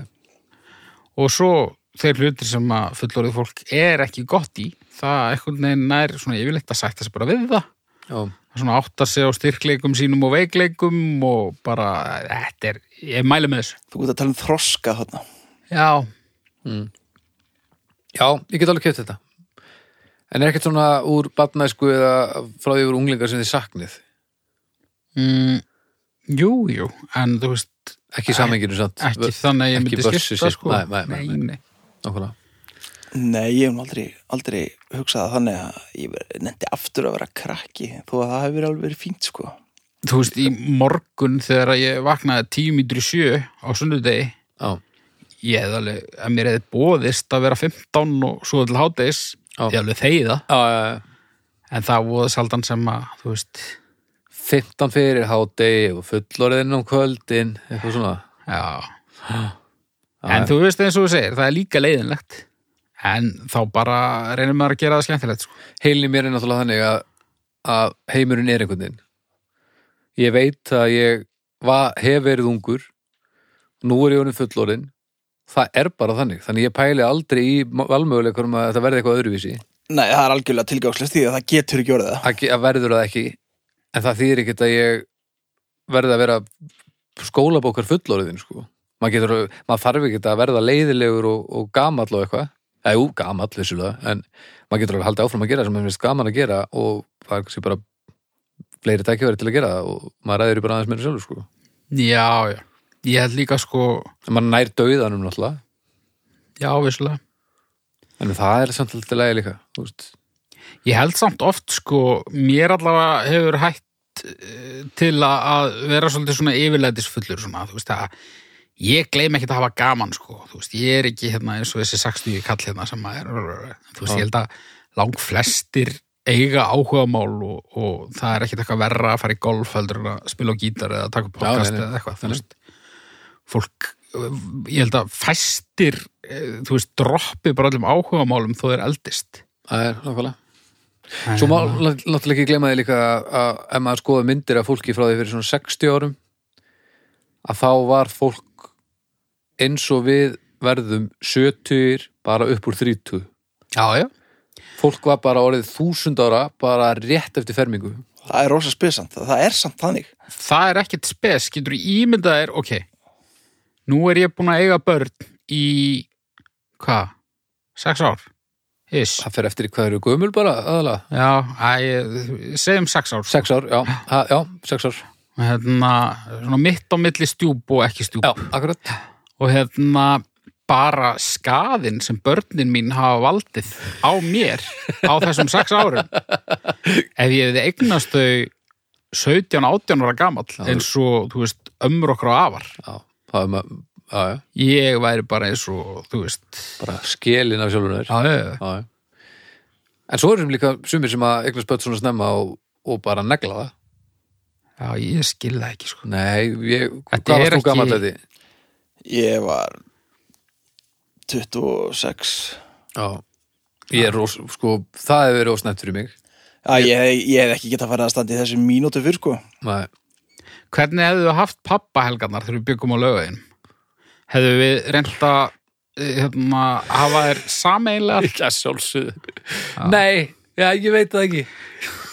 Speaker 2: og svo þeir hlutir sem að fullorðið fólk er ekki gott í það einhvern veginn nær svona yfirleitt að sætta sig bara við það
Speaker 1: já,
Speaker 2: Það svona átta sig á styrkleikum sínum og veikleikum og bara, þetta er ég mæli með þessu
Speaker 3: Þú gútt að tala um þroska þarna
Speaker 2: já,
Speaker 1: já, ég get alveg keft þetta En er ekkert svona úr batnaðsku eða frá því úr unglingar sem þið saknið
Speaker 2: mm, jú, jú en þú veist,
Speaker 1: Ekki í samenginu samt
Speaker 2: ekki þannig að ég
Speaker 1: ekki
Speaker 2: myndi
Speaker 1: börsi
Speaker 2: skipta
Speaker 1: sér.
Speaker 2: sko.
Speaker 1: Nei, nei, nei, nei.
Speaker 2: nei.
Speaker 1: Nákvæmlega.
Speaker 3: Nei, ég hef nú aldrei, aldrei hugsað það þannig að ég nefndi aftur að vera krakki þó að það hefur alveg verið fínt sko
Speaker 2: þú veist, í morgun þegar að ég vaknaði tíu mítri sjö á sunnudegi
Speaker 1: Já,
Speaker 2: ég hefði alveg, að mér hefði bóðist að vera 15 og svo til hátæðis
Speaker 1: Já.
Speaker 2: ég hefði alveg þegið það
Speaker 1: já, já, já
Speaker 2: En það voða sjaldan sem að, þú veist,
Speaker 1: 15 fyrir hádegi og fullorðinn um kvöldin eitthvað svona
Speaker 2: já. En þú veist eins og þú segir, það er líka leiðinlegt. En þá bara reynir maður að gera það skemmtilegt, sko.
Speaker 1: heilin í mér er náttúrulega þannig að, að heimurinn er einhvern veginn ég veit að ég va, hef verið ungur nú er ég honum fullorðinn það er bara þannig, þannig ég pæli aldrei í valmöguleikur um að þetta verði eitthvað öðruvísi
Speaker 3: Nei, það er algjörlega tilgangslegt því að það getur ekki orðið það
Speaker 1: að, ge- að verður það ekki en það þýðir ekkert að ég verði að vera skólabókar fullorðin sko. maður, getur, maður þarf ekkert að verða leiðilegur og, og gamall og eitthvað eða jú, gamall vissulega en maður getur alveg haldið áfram að gera sem maður finnst gaman að gera og það er kannski bara fleiri tækifæri til að gera það og maður ræður í bara aðeins meira sjálfur sko.
Speaker 2: Já, já. Ég held líka, sko,
Speaker 1: en maður nær dauðanum náttúrulega
Speaker 2: já, vissulega.
Speaker 1: en það er samt alltaf leiði líka þú veist.
Speaker 2: Ég held samt oft, sko, mér allavega hefur hætt eh, til að, að vera svolítið svona yfirleitisfullur, svona, þú veist, að ég gleym ekkert að hafa gaman, sko, þú veist, ég er ekki hérna eins og þessi 60 kall hérna sem að er, þú veist,
Speaker 1: Já.
Speaker 2: ég held að lang flestir eiga áhugamál og, og það er ekkert eitthvað verra að fara í golf heldur en að spila á gítar eða taka upp
Speaker 1: Já,
Speaker 2: podcast
Speaker 1: nei, nei.
Speaker 2: eða eitthvað, þú veist, fólk ég held að fæstir eh, þú veist, droppi bara allum áhugamálum þó þeir eldist
Speaker 1: Það er nákvæmlega. Svo má lá- náttúrulega ekki glema því líka að- að ef maður skoði myndir af fólki frá því fyrir svona 60 árum að þá var fólk eins og við verðum 70 bara upp úr 30
Speaker 2: já, já,
Speaker 1: fólk var bara orðið 1000 ára bara rétt eftir fermingu
Speaker 3: það er rosa spesant, það er samt þannig
Speaker 2: það er ekkit spes, getur ímyndað þér ok, nú er ég búin að eiga börn í hvað, sex ár hiss,
Speaker 1: það fer eftir í hvað eru gömul bara aðalega
Speaker 2: já, æ, segjum sex ár
Speaker 1: Sex ár, já, ha, já, sex ár
Speaker 2: hérna, svona mitt á milli stjúp og ekki stjúp
Speaker 1: Já, akkurat
Speaker 2: og hérna bara skaðinn sem börnin mín hafa valdið á mér á þessum sex árum ef ég hefði eignast þau 17-18 ára gamall eins og, þú veist, ömmur okkur á afar
Speaker 1: Já, það er maður, já, já,
Speaker 2: ég væri bara eins og, þú veist
Speaker 1: bara skelin af sjálfum þér
Speaker 2: já,
Speaker 1: Já, já. En svo erum líka sumir sem að eignast börn svona snemma og, og bara negla það.
Speaker 2: já, ég skil það ekki sko.
Speaker 1: Nei, ég,
Speaker 2: Þetta er
Speaker 1: hvað varst þú
Speaker 2: ekki-
Speaker 1: gamall að því?
Speaker 3: ég var 26
Speaker 1: Já. Ég er ós, sko, það hefur verið ósnæmt fyrir mig.
Speaker 3: Já, ég, ég hef ekki getað að fara að standa í þessu mínútu fyrr sko
Speaker 1: Nei,
Speaker 2: hvernig hefðu þau haft pappahelgarnar þegar við byggum á lögin hefðu við reynda hérna, hafa þér sameinlega
Speaker 1: ekki að sjálfsögðu. Nei, já, ég veit það ekki.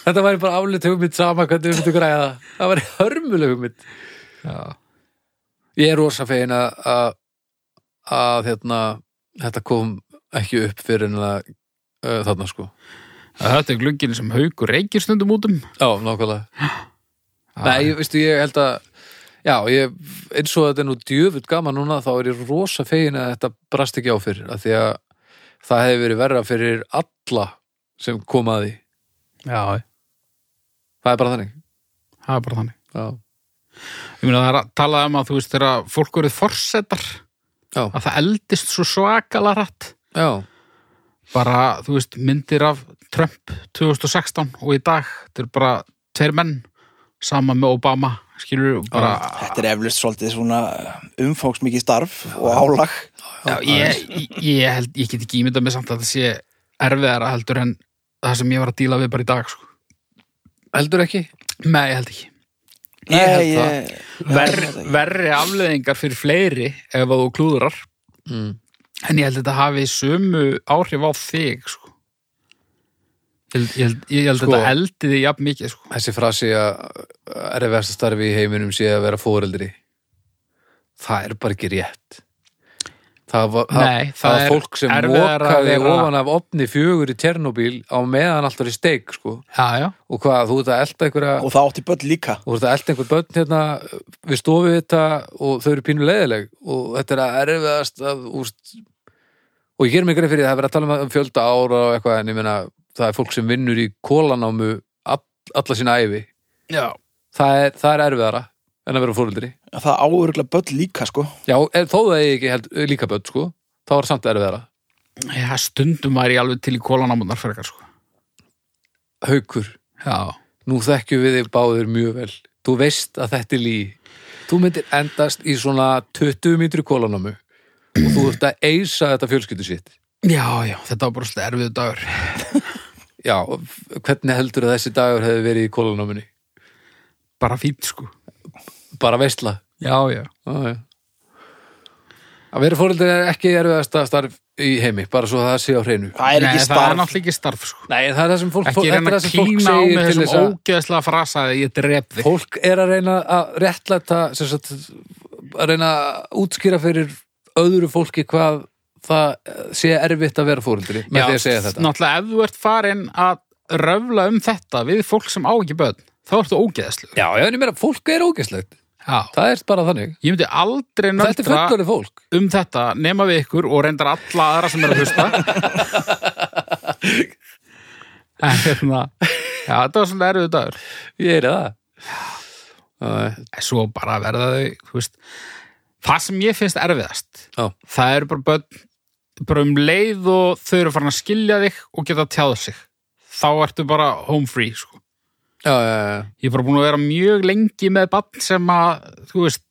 Speaker 1: Þetta væri bara aflut hugmynd sama hvernig við myndum græða það. Það væri hörmuleg hugmynd.
Speaker 2: já,
Speaker 1: Ég er rosa fegin að, að, að hérna, þetta kom ekki upp fyrir en að uh, þarna sko.
Speaker 2: þetta er glugginn sem haugur reykir stundum út um
Speaker 1: Já, nákvæmlega. Nei,
Speaker 2: Ah.
Speaker 1: ég, veistu, ég held að Já, ég, eins og þetta er nú djöfull gaman núna þá er ég rosa fegin að þetta brast ekki á fyrir af því að það hefði verið verra fyrir alla sem kom að því
Speaker 2: já,
Speaker 1: Það er bara þannig
Speaker 2: það er bara þannig
Speaker 1: Já,
Speaker 2: ég meina það er að tala um að þú veist þegar fólk verið forsetar
Speaker 1: Já.
Speaker 2: að það eldist svo svakala rætt
Speaker 1: já,
Speaker 2: bara þú veist myndir af Trump 2016 og í dag þetta er bara tveir menn sama með Obama skilur bara
Speaker 3: Þetta er eflust svolítið svona umfóksmikið starf og álag
Speaker 2: já, ég, ég, ég, held, ég get ekki ímyndað með samt að það sé erfiðara heldur en það sem ég var að díla við bara í dag sko.
Speaker 1: heldur ekki
Speaker 2: nei, ég held ekki
Speaker 1: held það.
Speaker 3: Nei, ég,
Speaker 2: Verri,
Speaker 3: Verri-
Speaker 2: verri afleðingar fyrir fleiri ef að þú klúðurar
Speaker 1: Mm.
Speaker 2: en ég held að þetta hafi sömu áhrif á þig sko. ég, held- ég held, ég held
Speaker 1: Sko.
Speaker 2: að þetta eldi þig jafn mikið sko.
Speaker 1: Þessi frasi að erfiðasta starfi í heiminum sé að vera fóreldri Það er bara ekki rétt Það var,
Speaker 2: Nei,
Speaker 1: það, það
Speaker 2: það er
Speaker 1: var fólk sem
Speaker 2: erfiðara að
Speaker 1: mokaði
Speaker 2: vera-
Speaker 1: ofan af opni fjögur í Tjernobyl á meðan alltaf í steik sko.
Speaker 2: já, já.
Speaker 1: og hvað, þú ert að elda einhverja
Speaker 3: og það átti börn líka
Speaker 1: og þetta elda einhver börn hérna við stofið þetta og þau eru pínu leiðileg og þetta er að erfiðast að, úst, og ég ger mig greið fyrir því, það er verið að tala um um fjölda ára og eitthvað en ég meina það er fólk sem vinnur í kólanámu all, alla sína æfi
Speaker 2: Já.
Speaker 1: það er, það er erfiðara en að vera fóreldri
Speaker 3: Það áuruglega börn líka sko
Speaker 1: já, er, þó það er ekki held, líka börn sko þá er samt erfiðara
Speaker 2: Já, stundum væri ég alveg til í kólanámunar frekar sko.
Speaker 1: haukur,
Speaker 2: já.
Speaker 1: nú þekkjum við þig báðir mjög vel þú veist að þetta er lí þú myndir endast í svona 20 mítri kólanámu og þú ert að eisa þetta fjölskyldu sitt
Speaker 2: já, já, þetta var bara svolítið erfiðu dagur
Speaker 1: Já, hvernig heldur að þessi dagur hefði verið í kólanáminni?
Speaker 2: bara fínt sko
Speaker 1: Bara veistla.
Speaker 2: já, já,
Speaker 1: Já, já. Að vera fóreldur er ekki erfiðasta starf í heimi, bara svo það sé á hreinu.
Speaker 3: Það er
Speaker 2: Nei,
Speaker 3: ekki
Speaker 2: það er
Speaker 3: starf
Speaker 2: náttúrulega ekki starf sko.
Speaker 1: Nei, það er það sem fólk,
Speaker 2: ekki
Speaker 1: þetta er
Speaker 2: reyna
Speaker 1: það
Speaker 2: að
Speaker 1: sem fólk
Speaker 2: klína á með
Speaker 1: segir til þess
Speaker 2: þessum
Speaker 1: að
Speaker 2: ógeðslega frasa að ég drep þig
Speaker 1: fólk er að reyna að réttlæta, sem sagt, að reyna að útskýra fyrir öðru fólki hvað það eh, sé erfitt að vera fóreldri með því að segja þetta.
Speaker 2: náttúrulega ef þú ert farin að röfla um þetta við fólk sem á ekki börn þá ertu ógeðslu
Speaker 1: Já, já, en ég meira, fólk er
Speaker 2: ég
Speaker 1: ógæslegt. Það er bara þannig.
Speaker 2: myndi aldrei
Speaker 1: Þetta er
Speaker 2: nöldra
Speaker 1: fullorðið fólk.
Speaker 2: um þetta nema við ykkur og reyndar alla aðra sem er að hlusta en hérna já, þetta var svona erfið dagur
Speaker 1: Ég er það. Já,
Speaker 2: svo bara verða þau þú veist, það sem ég finnst erfiðast
Speaker 1: já,
Speaker 2: það eru bara börn bara um leið og þau eru farin að skilja þig og geta tjáð sig þá ertu bara home free sko.
Speaker 1: já, já, já.
Speaker 2: ég er bara búin að vera mjög lengi með bann sem að þú veist,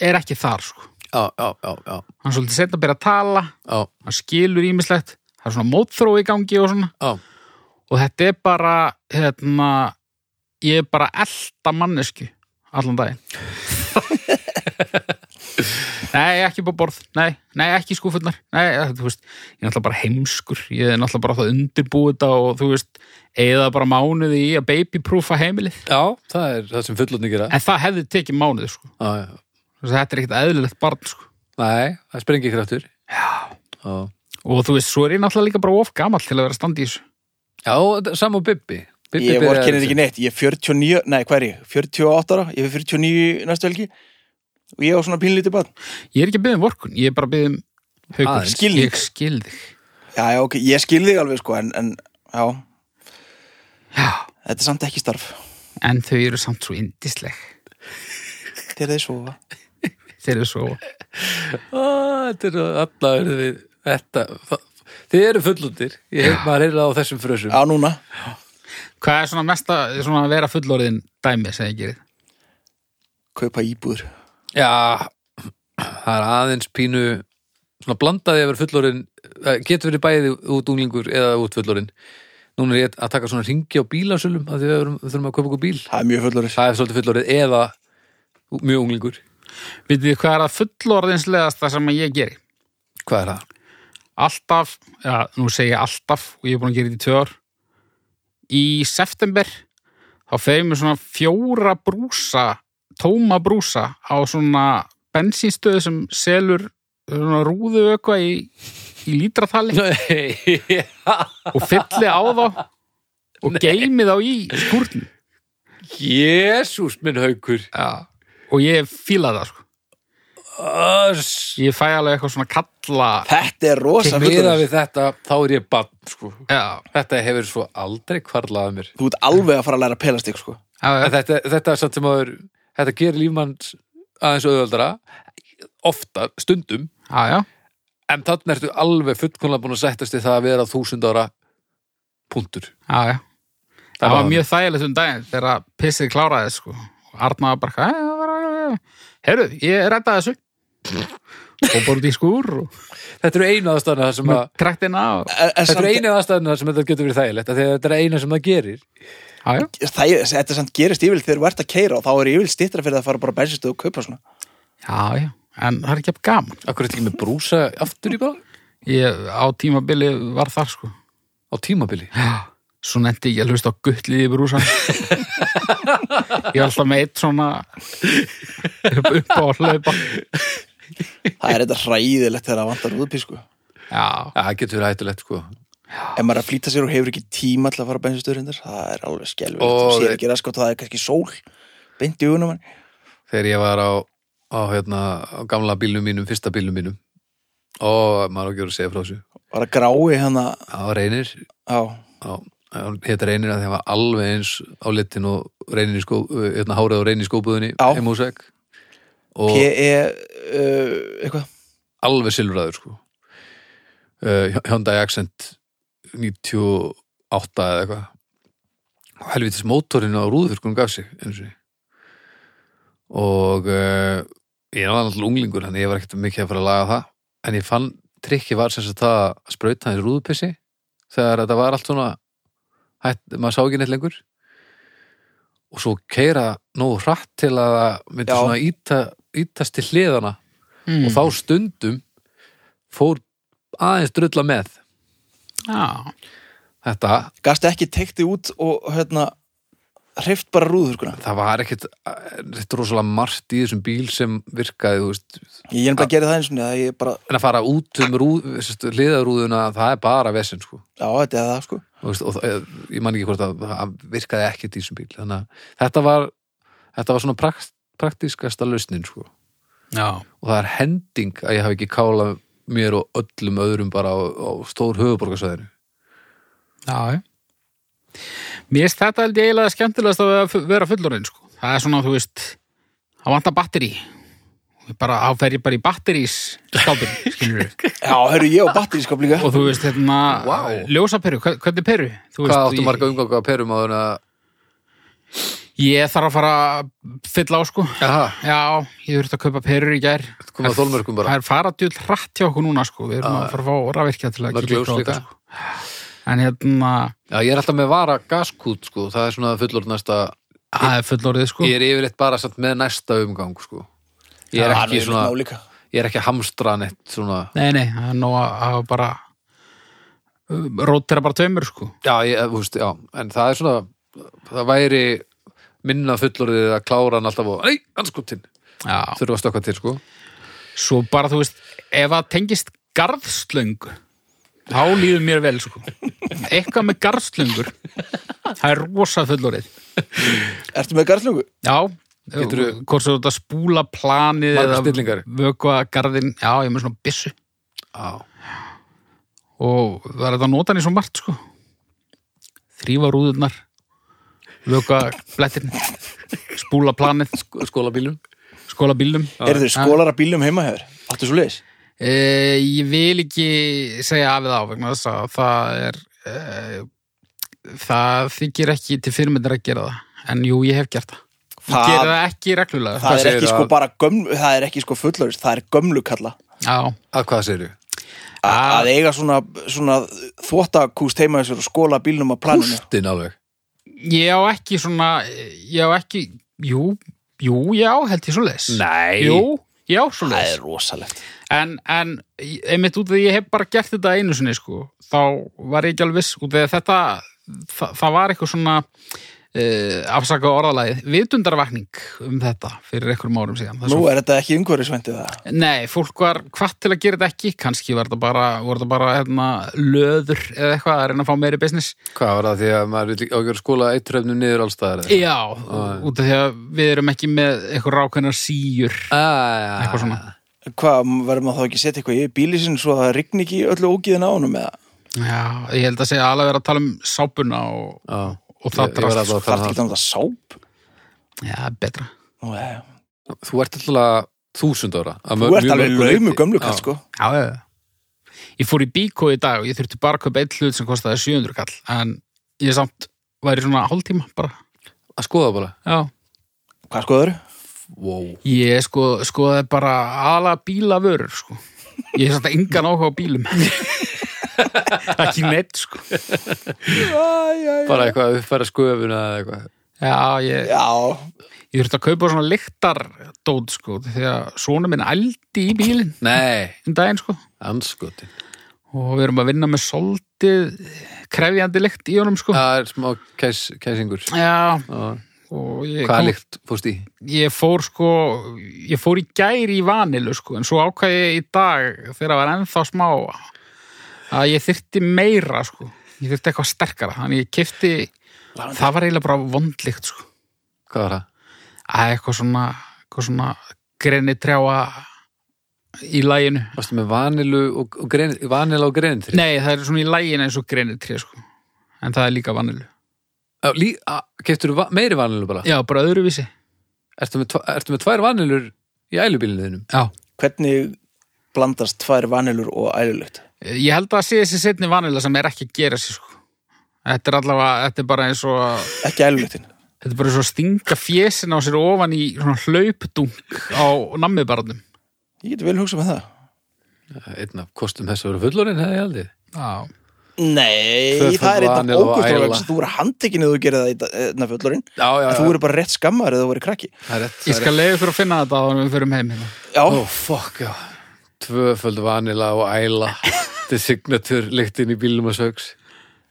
Speaker 2: er ekki þar sko.
Speaker 1: já, já, já, já,
Speaker 2: hann er svolítið setna að byrja að tala
Speaker 1: já,
Speaker 2: hann skilur ímislegt, það er svona mótþró í gangi og svona
Speaker 1: já.
Speaker 2: og þetta er bara hérna, ég er bara elda mannesku allan daginn Nei, ekki bara borð, nei, nei, ekki skúfurnar Nei, það- þú veist, ég er náttúrulega bara heimskur Ég er náttúrulega bara það undirbúið þetta og þú veist, eða bara mánuði í að babyproofa heimilið
Speaker 1: já það er það sem fullotni gera já,
Speaker 2: En það hefði tekið mánuði, sko
Speaker 1: já. já.
Speaker 2: Þú veist, Þetta er ekkert eðlilegt barn, sko
Speaker 1: nei, það sprengi kraftur já,
Speaker 2: Og þú veist, svo er ég náttúrulega líka bara of gamall til að vera að standa í þessu
Speaker 1: já þetta- sama og Bibbi Bibbi
Speaker 3: Ég
Speaker 1: byrjaði
Speaker 3: vorkennir
Speaker 1: þessu.
Speaker 3: ekki neitt, ég er 49, nei hvað er ég, 48 ára, ég er 49 næstu helgi og ég á svona pínlítið barn.
Speaker 2: Ég er ekki að byggja um vorkun, ég er bara að byggja um haukur,
Speaker 1: Aðeins.
Speaker 3: Skilning.
Speaker 2: ég skil þig
Speaker 3: Já, já, ok, ég skil þig alveg sko, en, en já,
Speaker 2: Já,
Speaker 3: þetta er samt ekki starf.
Speaker 2: en þau eru samt svo indisleg
Speaker 3: Þegar þeir sofa.
Speaker 2: þeir eru svo
Speaker 1: Á, þetta er alla verður við þetta, það, þið eru fullundir ég hef maður heyrða á þessum frösum
Speaker 3: Já, núna.
Speaker 2: Hvað er svona mesta, svona að vera fullorðin dæmi sem þið gerir?
Speaker 3: Kaupa íbúður.
Speaker 1: Já, það er aðeins pínu svona blandaði að vera fullorinn það eh, getur verið bæði út unglingur eða út fullorinn Núna er ég að taka svona ringi á bílasölum að því við verum- við þurfum að kaupa okkur bíl
Speaker 3: Það er mjög fullorðis.
Speaker 1: Það er svolítið fullorinn eða mjög unglingur
Speaker 2: Vitið þið hvað er að fullorðinslegasta sem að ég geri?
Speaker 1: Hvað er það?
Speaker 2: Alltaf, já, nú segi ég alltaf og ég er búin að gera þetta í tvö ár Í september þá fegir mér svona fjóra brúsa tóma brúsa á svona bensínstöðu sem selur svona rúðu ökva í, í lítratali
Speaker 1: Nei,
Speaker 2: og fylli á þá og geymi þá í skúrn
Speaker 1: Jésús minn haukur
Speaker 2: Já. og ég fíla það sko.
Speaker 1: Öss
Speaker 2: ég fæ alveg eitthvað svona kalla
Speaker 3: Þetta er rosa
Speaker 1: Miða
Speaker 3: fullorðis.
Speaker 1: við þetta, þá er ég bann sko.
Speaker 2: Já,
Speaker 1: Þetta hefur svo aldrei kvarlaðið mér
Speaker 3: Þú ert alveg að fara að læra að pelast ykkur sko.
Speaker 2: já,
Speaker 1: En
Speaker 2: já.
Speaker 1: þetta, þetta er samt sem aður þetta gerir lífmanns aðeins auðvöldara ofta, stundum
Speaker 2: já, já.
Speaker 1: en þannig ertu alveg fullkomlega búin að sættast í það að vera þúsund ára punktur
Speaker 2: já, já.
Speaker 1: Það
Speaker 2: það var
Speaker 1: var-
Speaker 2: mjög þægilegt um daginn þegar að pissið kláraði sko. og Arna var bara eitthvað herru, ég redda þessu og bara út í skúr og
Speaker 1: Þetta eru einu aðstæðna þar sem að
Speaker 2: trektina og...
Speaker 3: En, en
Speaker 1: Þetta
Speaker 3: samt,
Speaker 1: eru einu aðstæðna sem þetta getur verið þægilegt af því að þetta er eina sem það gerir
Speaker 2: já, já.
Speaker 3: það, er- þetta samt gerist yfirleitt þegar þú ert að keira og þá er yfirleitt stittra fyrir að fara bara að bensistu og kaupa svona.
Speaker 2: já, já, en það er ekki að gaman
Speaker 1: Akkur er þetta ekki með brúsa aftur í bara
Speaker 2: ég, á tímabili var það sko.
Speaker 1: á tímabili
Speaker 2: Já, svo nefndi ég að hlusta á guttlið í brúsan ég er alltaf meitt svona upp, upp á hlaupa
Speaker 3: Það er þetta hræðilegt þegar það vantar úðpíð sko.
Speaker 2: já,
Speaker 1: Já, það getur verið hættulegt sko
Speaker 3: Ef maður er að flýta sér og hefur ekki tíma til að fara að bensistu reyndar, það er alveg skelvilegt.
Speaker 1: Ó,
Speaker 3: Þú sér
Speaker 1: þeir-
Speaker 3: ekki raskot og það er kannski sól. Beint í ugunum hann.
Speaker 1: þegar ég var á, á, hérna, á gamla bílnum mínum, fyrsta bílnum mínum og maður á ekki verið að segja frá þessu
Speaker 3: Var að grái hérna hann að,
Speaker 1: á reynir
Speaker 3: já,
Speaker 1: Já, hún hétt reynir að það var alveg eins á litin og reynir í skó, uh, hérna hárið og reynir í skóbuðinni
Speaker 3: Já.
Speaker 1: heim húsveg og
Speaker 3: P.E. E, Uh, eitthvað.
Speaker 1: alveg silfraður sko uh, Hyundai Accent 98 eða eitthvað og helvitis mótorinn á rúðurkunum gaf sig einu sinni og uh, ég var náttúrulega unglingur þannig ég var ekkert mikið að fara að laga það en ég fann trikki var sem sagt það að sprauta hans rúðupissi þegar þetta var allt svona hætt, maður sá ekki neitt lengur og svo keira nógu hratt til að það myndi
Speaker 3: Já.
Speaker 1: svona íta, ítast til hliðana
Speaker 2: mm.
Speaker 1: og þá stundum fór aðeins drulla með
Speaker 2: já.
Speaker 1: þetta,
Speaker 3: Gastu ekki teikt þig út og hérna, hreift bara sko. rúðurkuna.
Speaker 1: það var ekkit þetta rosalega margt í þessum bíl sem virkaði, þú veist,
Speaker 3: Ég er bara að gera það eins og það, ég bara,
Speaker 1: en að fara út um rúð, sérst, hliðarúðuna, það er bara vesinn, sko,
Speaker 3: já, þetta er það sko.
Speaker 1: þú veist, og það, eh, ég man ekki hvort að það virkaði ekkit í þessum bíl þannig að þetta var, þetta var svona prakt, praktískasta lausnin, sko
Speaker 2: já,
Speaker 1: og það er hending að ég hafi ekki kálað mér og öllum öðrum bara á, á stór höfuborgarsvæðinu
Speaker 2: já, já mér finnst þetta held ég eiginlega skemmtilegast að vera- vera fullorinn sko. það er svona, þú veist það vantar batteri Ég bara, þá fer ég bara í batterís skápin, skilur
Speaker 3: Já, hörru, ég og batterískap líka.
Speaker 2: og þú veist, hérna,
Speaker 1: Vá.
Speaker 2: ljósaperu, hva- hvernig peru? Þú
Speaker 1: Hvað
Speaker 2: veist,
Speaker 1: áttu um?
Speaker 2: ég-
Speaker 1: marga umganga perum áður en að
Speaker 2: Ég þarf að fara að fylla á sko.
Speaker 1: Jaha,
Speaker 2: Já, ég þurfti að kaupa perur í gær.
Speaker 1: komið að þólmörkum bara.
Speaker 2: Það er fara djúl hratt hjá okkur núna sko. Við erum að fara að fá rafvirkja til að
Speaker 1: Mörg
Speaker 2: kíkja
Speaker 1: ljós
Speaker 2: á þetta,
Speaker 1: líka.
Speaker 2: sko. En hérna,
Speaker 1: Já, ég er alltaf með vara gaskút, sko. Það er svona fullorðnasta,
Speaker 2: það er fullorðið sko.
Speaker 1: ég er yfirleitt bara samt með næsta umgang, sko. Ég er ekki svona,
Speaker 3: Nálíka.
Speaker 1: ég er ekki að hamstra neitt svona.
Speaker 2: Nei, nei, það er nóg að hafa bara uh, rótera bara tveimur sko.
Speaker 1: Já, ég, þú veist, já, en það er svona, það væri minna fullorðið að klára hann alltaf og, ei, anskotin,
Speaker 2: Já.
Speaker 1: þurfa að stökkva til, sko.
Speaker 2: Svo bara, þú veist, ef það tengist garðslöngu, þá líður mér vel, sko. Eitthvað með garðslöngur, það er rosa fullorið.
Speaker 3: Ertu með garðslungu?
Speaker 2: Já,
Speaker 1: Geturðu-
Speaker 2: hvort svo þetta spúla planið
Speaker 1: Margar
Speaker 2: eða
Speaker 1: stillingar.
Speaker 2: vökva garðin, já, ég er með svona byssu
Speaker 1: Já,
Speaker 2: og það er þetta að nota hann í svo margt, sko. Þrýfa rúðurnar, vökva blettin, spúla planið,
Speaker 1: Sk- skólabílum.
Speaker 2: skóla bílum.
Speaker 3: Eru þau skólar að bílum heima hefur? Áttu svo leiðis?
Speaker 2: Eh, ég vil ekki segja af eða á vegna þess að það er eh, það þykir ekki til fyrirmyndir að gera það en jú, ég hef gert það
Speaker 3: Það-
Speaker 2: ég gera það ekki reglulega
Speaker 3: Það er
Speaker 1: segirðu
Speaker 3: ekki sko
Speaker 1: að-
Speaker 3: bara gömlu, það er ekki sko fullorist, það er gömlu kalla.
Speaker 2: Já,
Speaker 1: Að hvað segirðu?
Speaker 3: A- Að eiga svona, svona þvottakúst heima þessur og skóla bílnum að planinu.
Speaker 1: Hústin alveg.
Speaker 2: ég á ekki svona ég á ekki, jú jú, já, held ég svo leis
Speaker 1: Nei.
Speaker 2: jú, já, svo
Speaker 3: Það
Speaker 2: leis
Speaker 3: er rosalegt.
Speaker 2: en, en einmitt út af því að ég hef bara gert þetta einu sinni sko, þá var ég ekki alveg viss út af því að þetta, það, það var eitthvað svona uh, afsaka orðalagið, vitundarvakning um þetta fyrir einhverjum árum síðan Það
Speaker 3: Nú
Speaker 2: svo,
Speaker 3: er þetta ekki umhverfisvæntið það.
Speaker 2: nei, fólk var hvað til að gera þetta ekki, kannski var þetta bara voru þetta bara hérna, löður eða eitthvað að reyna að fá meiri business
Speaker 1: Hvað var það því að maður vil ekki á að gera skóla eitrefnu niður allstaðar? eða?
Speaker 2: já, út af því að við erum ekki með eitthvað rákvæmna síjur
Speaker 1: Ah,
Speaker 2: eitthvað svona
Speaker 3: Hvað, verður maður þá ekki að setja eitthvað í bíli sinn svo að það rigni ekki öllu ógíðin á honum eða?
Speaker 2: já, ég held að segja að alveg vera að tala um sápuna og,
Speaker 1: Já.
Speaker 2: og það
Speaker 1: Ég- ég var
Speaker 2: drast,
Speaker 1: að-
Speaker 2: sko.
Speaker 1: að
Speaker 3: Það er
Speaker 1: tala um
Speaker 3: ekki þannig að sáp.
Speaker 2: já, betra
Speaker 3: Nú, já, já.
Speaker 1: það. Þú ert alltaf þúsund ára. að
Speaker 3: Þú
Speaker 1: mörg-
Speaker 3: ert
Speaker 1: mjög
Speaker 3: alveg
Speaker 1: mörgu
Speaker 3: laumu
Speaker 1: leyti.
Speaker 3: gömlu
Speaker 1: Já.
Speaker 3: kall sko.
Speaker 2: Já, já, já. Ég fór í bíkó í dag og ég þurfti bara að kaupa eitt hlut sem kostaði 700 kall, en ég samt væri svona hálftíma bara.
Speaker 1: Að skoða bara.
Speaker 2: Já.
Speaker 3: Hvað skoður?
Speaker 1: Wow.
Speaker 2: Ég sko, skoði bara aðalega bílavörur, sko. Ég er samt engan áhuga á bílum. Ekki neitt, sko.
Speaker 1: Bara eitthvað að uppfæra sköfuna eða eitthvað.
Speaker 2: Já, ég,
Speaker 3: Já,
Speaker 2: ég þurfti að kaupa svona lyktardót, sko, þegar svona minn ældi í bílinn
Speaker 1: Nei,
Speaker 2: um daginn, sko.
Speaker 1: anskotin.
Speaker 2: Og við erum að vinna með soldið krefjandi lykt í honum, sko.
Speaker 1: Það er smá kæs, kæsingur.
Speaker 2: Já,
Speaker 1: Já.
Speaker 2: og ég
Speaker 1: Hvaða líkt fórst í?
Speaker 2: ég fór sko ég fór í gæri í vanilu sko en svo ákvæði ég í dag þegar það var ennþá smá að ég þyrfti meira sko ég þyrfti eitthvað sterkara þannig ég kefti það var eiginlega bara vondlíkt sko
Speaker 1: Hvað var það?
Speaker 2: að eitthvað svona, eitthvað svona greni trjáa í læginu
Speaker 1: Varstu með vanilu og, og grein, vanila og grein þrý?
Speaker 2: nei það er svona í læginu eins og greni trjá sko en það er líka vanilu
Speaker 1: Nei. Keftur þú meiri vanilu bara?
Speaker 2: já bara öðruvísi
Speaker 1: Ertu með, tva- ertu með tvær vanilur í ælubílinu þínum?
Speaker 2: já
Speaker 3: hvernig blandast tvær vanilur og ælulykt?
Speaker 2: Ég held að það sé þessi setni vanilja sem er ekki að gera sér sko. Þetta er allavega, þetta er bara eins og að-
Speaker 3: Ekki ælulyktin.
Speaker 2: þetta er bara eins og að stinga fjesin á sér ofan í svona hlaupdunk á nammibarnum.
Speaker 3: Ég geti vel hugsað með það.
Speaker 1: Einn af kostum þess að vera fullorinn hefði ég haldið.
Speaker 2: Já.
Speaker 3: Nei,
Speaker 1: Tvöföld
Speaker 3: það er
Speaker 1: vanilla og
Speaker 3: eitthvað
Speaker 1: æla.
Speaker 3: ógustrólega þú verður handtekinn eða þú gerir það í dag- hérna fullorinn
Speaker 1: Já, já,
Speaker 3: en þú verður bara rétt skammar eða þú verður krakki
Speaker 1: Það er rétt.
Speaker 2: Ég skal leiða ykkur að finna þetta á þannig við förum heim hérna.
Speaker 3: Já,
Speaker 1: Ó, fokk, já. Tvöföld vanila og æla. Þetta er signatur lyktin í bílum og sögs.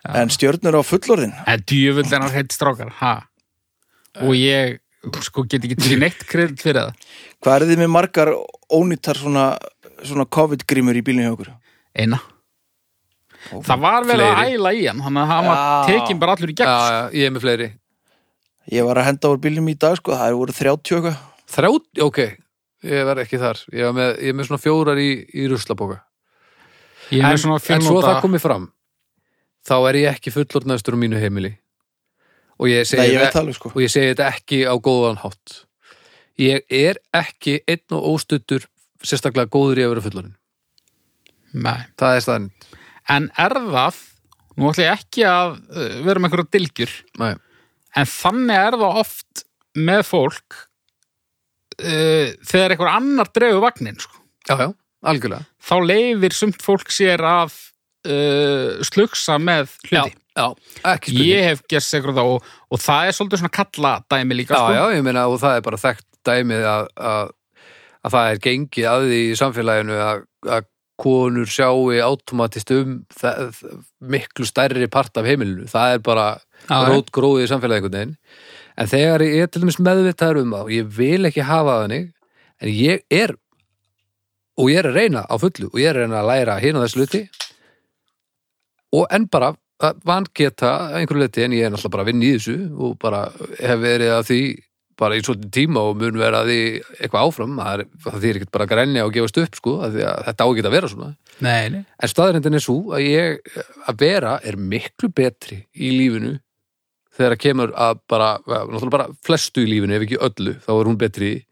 Speaker 3: en stjörnur á fullorðin
Speaker 2: En djöfull er hann hreitt strákar, ha? Og ég, sko, get ekki til neitt kredd fyrir það.
Speaker 3: Hvað er þið með margar ónýttar svona, svona COVID-grímur í bílinu hjá okkur?
Speaker 2: Eina. Það var vel að
Speaker 1: Fleiri.
Speaker 2: æla í hann, þannig að hann var
Speaker 3: Já.
Speaker 2: tekin bara allur í gegn.
Speaker 1: Já,
Speaker 2: sko.
Speaker 1: já, ég er með fleiri.
Speaker 3: Ég var að henda úr bílnum í dag sko, það voru 30 og eitthvað
Speaker 1: Þrját, ok. Ég verð ekki þar. Ég er með, ég er með svona fjórar í, í ruslabóka.
Speaker 2: Ég er
Speaker 1: En,
Speaker 2: með svona
Speaker 1: en svo það
Speaker 2: fjölnóta,
Speaker 1: komið fram, þá er ég ekki fullorðnæstur á mínu heimili. Og ég
Speaker 3: Nei,
Speaker 1: segi,
Speaker 3: ég veit
Speaker 1: það,
Speaker 3: það alveg sko
Speaker 1: og ég segi þetta ekki á góðan hátt. Ég er ekki einn og óstuttur sérstaklega góður í að vera fullorinn.
Speaker 2: nei.
Speaker 1: Það er staðan.
Speaker 2: eh, En er það, nú ætla ég ekki að uh, vera með einhverja dilgjur,
Speaker 1: Nei.
Speaker 2: en þannig er það oft með fólk uh, þegar einhver annar dregur vagnin sko.
Speaker 1: já, já, algjörlega
Speaker 2: þá leifir sumt fólk sér að uh, slugsa með hluti
Speaker 1: já, ekki spurning
Speaker 2: ég hef gert segur það og, og það er svolítið svona kalla dæmi líka
Speaker 1: já,
Speaker 2: sko.
Speaker 1: já, ég meina og það er bara þekkt dæmið að, að, að það er gengið að því í samfélaginu að, að konur sjái automatist um það, miklu stærri part af heimilinu það er bara
Speaker 2: Já, já.
Speaker 1: rót gróið í samfélaginu veginn. en þegar ég er til dæmis meðvitaður um það og ég vil ekki hafa þannig en ég er og ég er að reyna á fullu og ég er að reyna að læra hérna þessu luti og enn bara að vangeta að einhverju leti en ég er náttúrulega bara að vinna í þessu og bara hef verið að því bara í svolítið tíma og mun vera að því eitthvað áfram, það er- það þýr ekkert bara að grænja og gefast upp sko, af því að þetta á ekki að vera svona
Speaker 2: nei, nei.
Speaker 1: en staðarindin er svo að ég að vera er miklu betri í lífinu þegar að kemur að bara, náttúrulega bara flestu í lífinu ef ekki öllu, þá er hún betri í.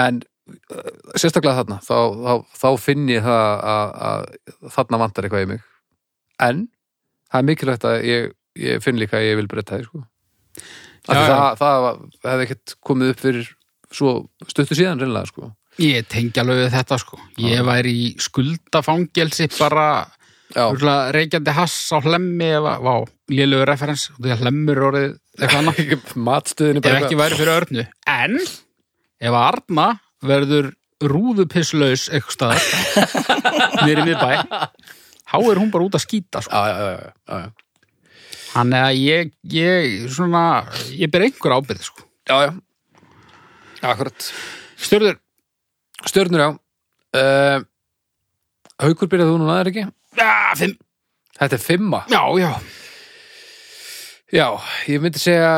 Speaker 1: en eh, sérstaklega þarna þá, þá, þá finn ég það að, að þarna vantar eitthvað í mig en það er mikilvægt að ég, ég finn líka að ég vil breyta því sko.
Speaker 2: Já,
Speaker 1: Af því
Speaker 2: já.
Speaker 1: það, það, það hefði ekkert komið upp fyrir svo stuttu síðan reynilega sko.
Speaker 2: ég tengi alveg við þetta sko. ég væri í skuldafangelsi bara
Speaker 1: já,
Speaker 2: Úrla, reykjandi hass á hlemmi eða, vá, lélugur referens og því að hlemmur orðið eitthvað annað
Speaker 1: matstöðinu
Speaker 2: ef ekki væri fyrir Örnu en ef Arna verður rúðupisslaus eitthvað staðar nýri miðbæ þá er hún bara út að skýta sko.
Speaker 1: já, já, já, já, já, já.
Speaker 2: hann er að ég, ég svona, ég ber einhver ábyrð sko.
Speaker 1: já, já Akkurat
Speaker 2: Stjörður,
Speaker 1: Stjörnur, já uh, Haukur byrjaði þú núna, er ekki?
Speaker 2: að, fimm
Speaker 1: Þetta er fimma
Speaker 2: já, já,
Speaker 1: Já, ég myndi segja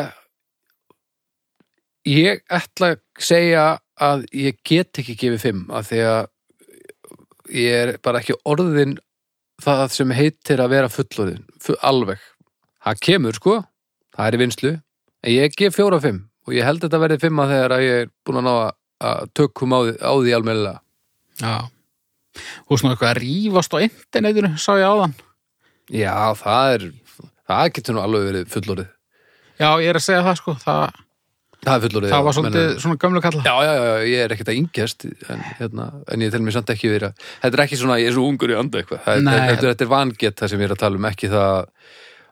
Speaker 1: Ég ætla að segja að ég get ekki gefið fimm af því að ég er bara ekki orðin það sem heitir að vera fullorðin fu- alveg. Það kemur sko það er í vinslu en ég gef fjóra fimm og ég held að þetta verði fimma þegar að ég er búin að ná að- að tökum á því, á því almennilega.
Speaker 2: já og svona eitthvað að rífast á internetinu sá ég áðan
Speaker 1: Já, það er það getur nú alveg verið fullorðið
Speaker 2: já, ég er að segja það sko, það,
Speaker 1: Það er fullorðið
Speaker 2: það
Speaker 1: já,
Speaker 2: var svolítið
Speaker 1: menn-
Speaker 2: svona gamlu kalla
Speaker 1: Já, já, já, já, ég er ekkert að yngjast en, hérna, en ég tel mér samt ekki verið að Þetta er ekki svona, ég er svo ungur í anda eitthvað Það er-
Speaker 2: Nei.
Speaker 1: Þetta er- þetta er vangett það sem ég er að tala um ekki það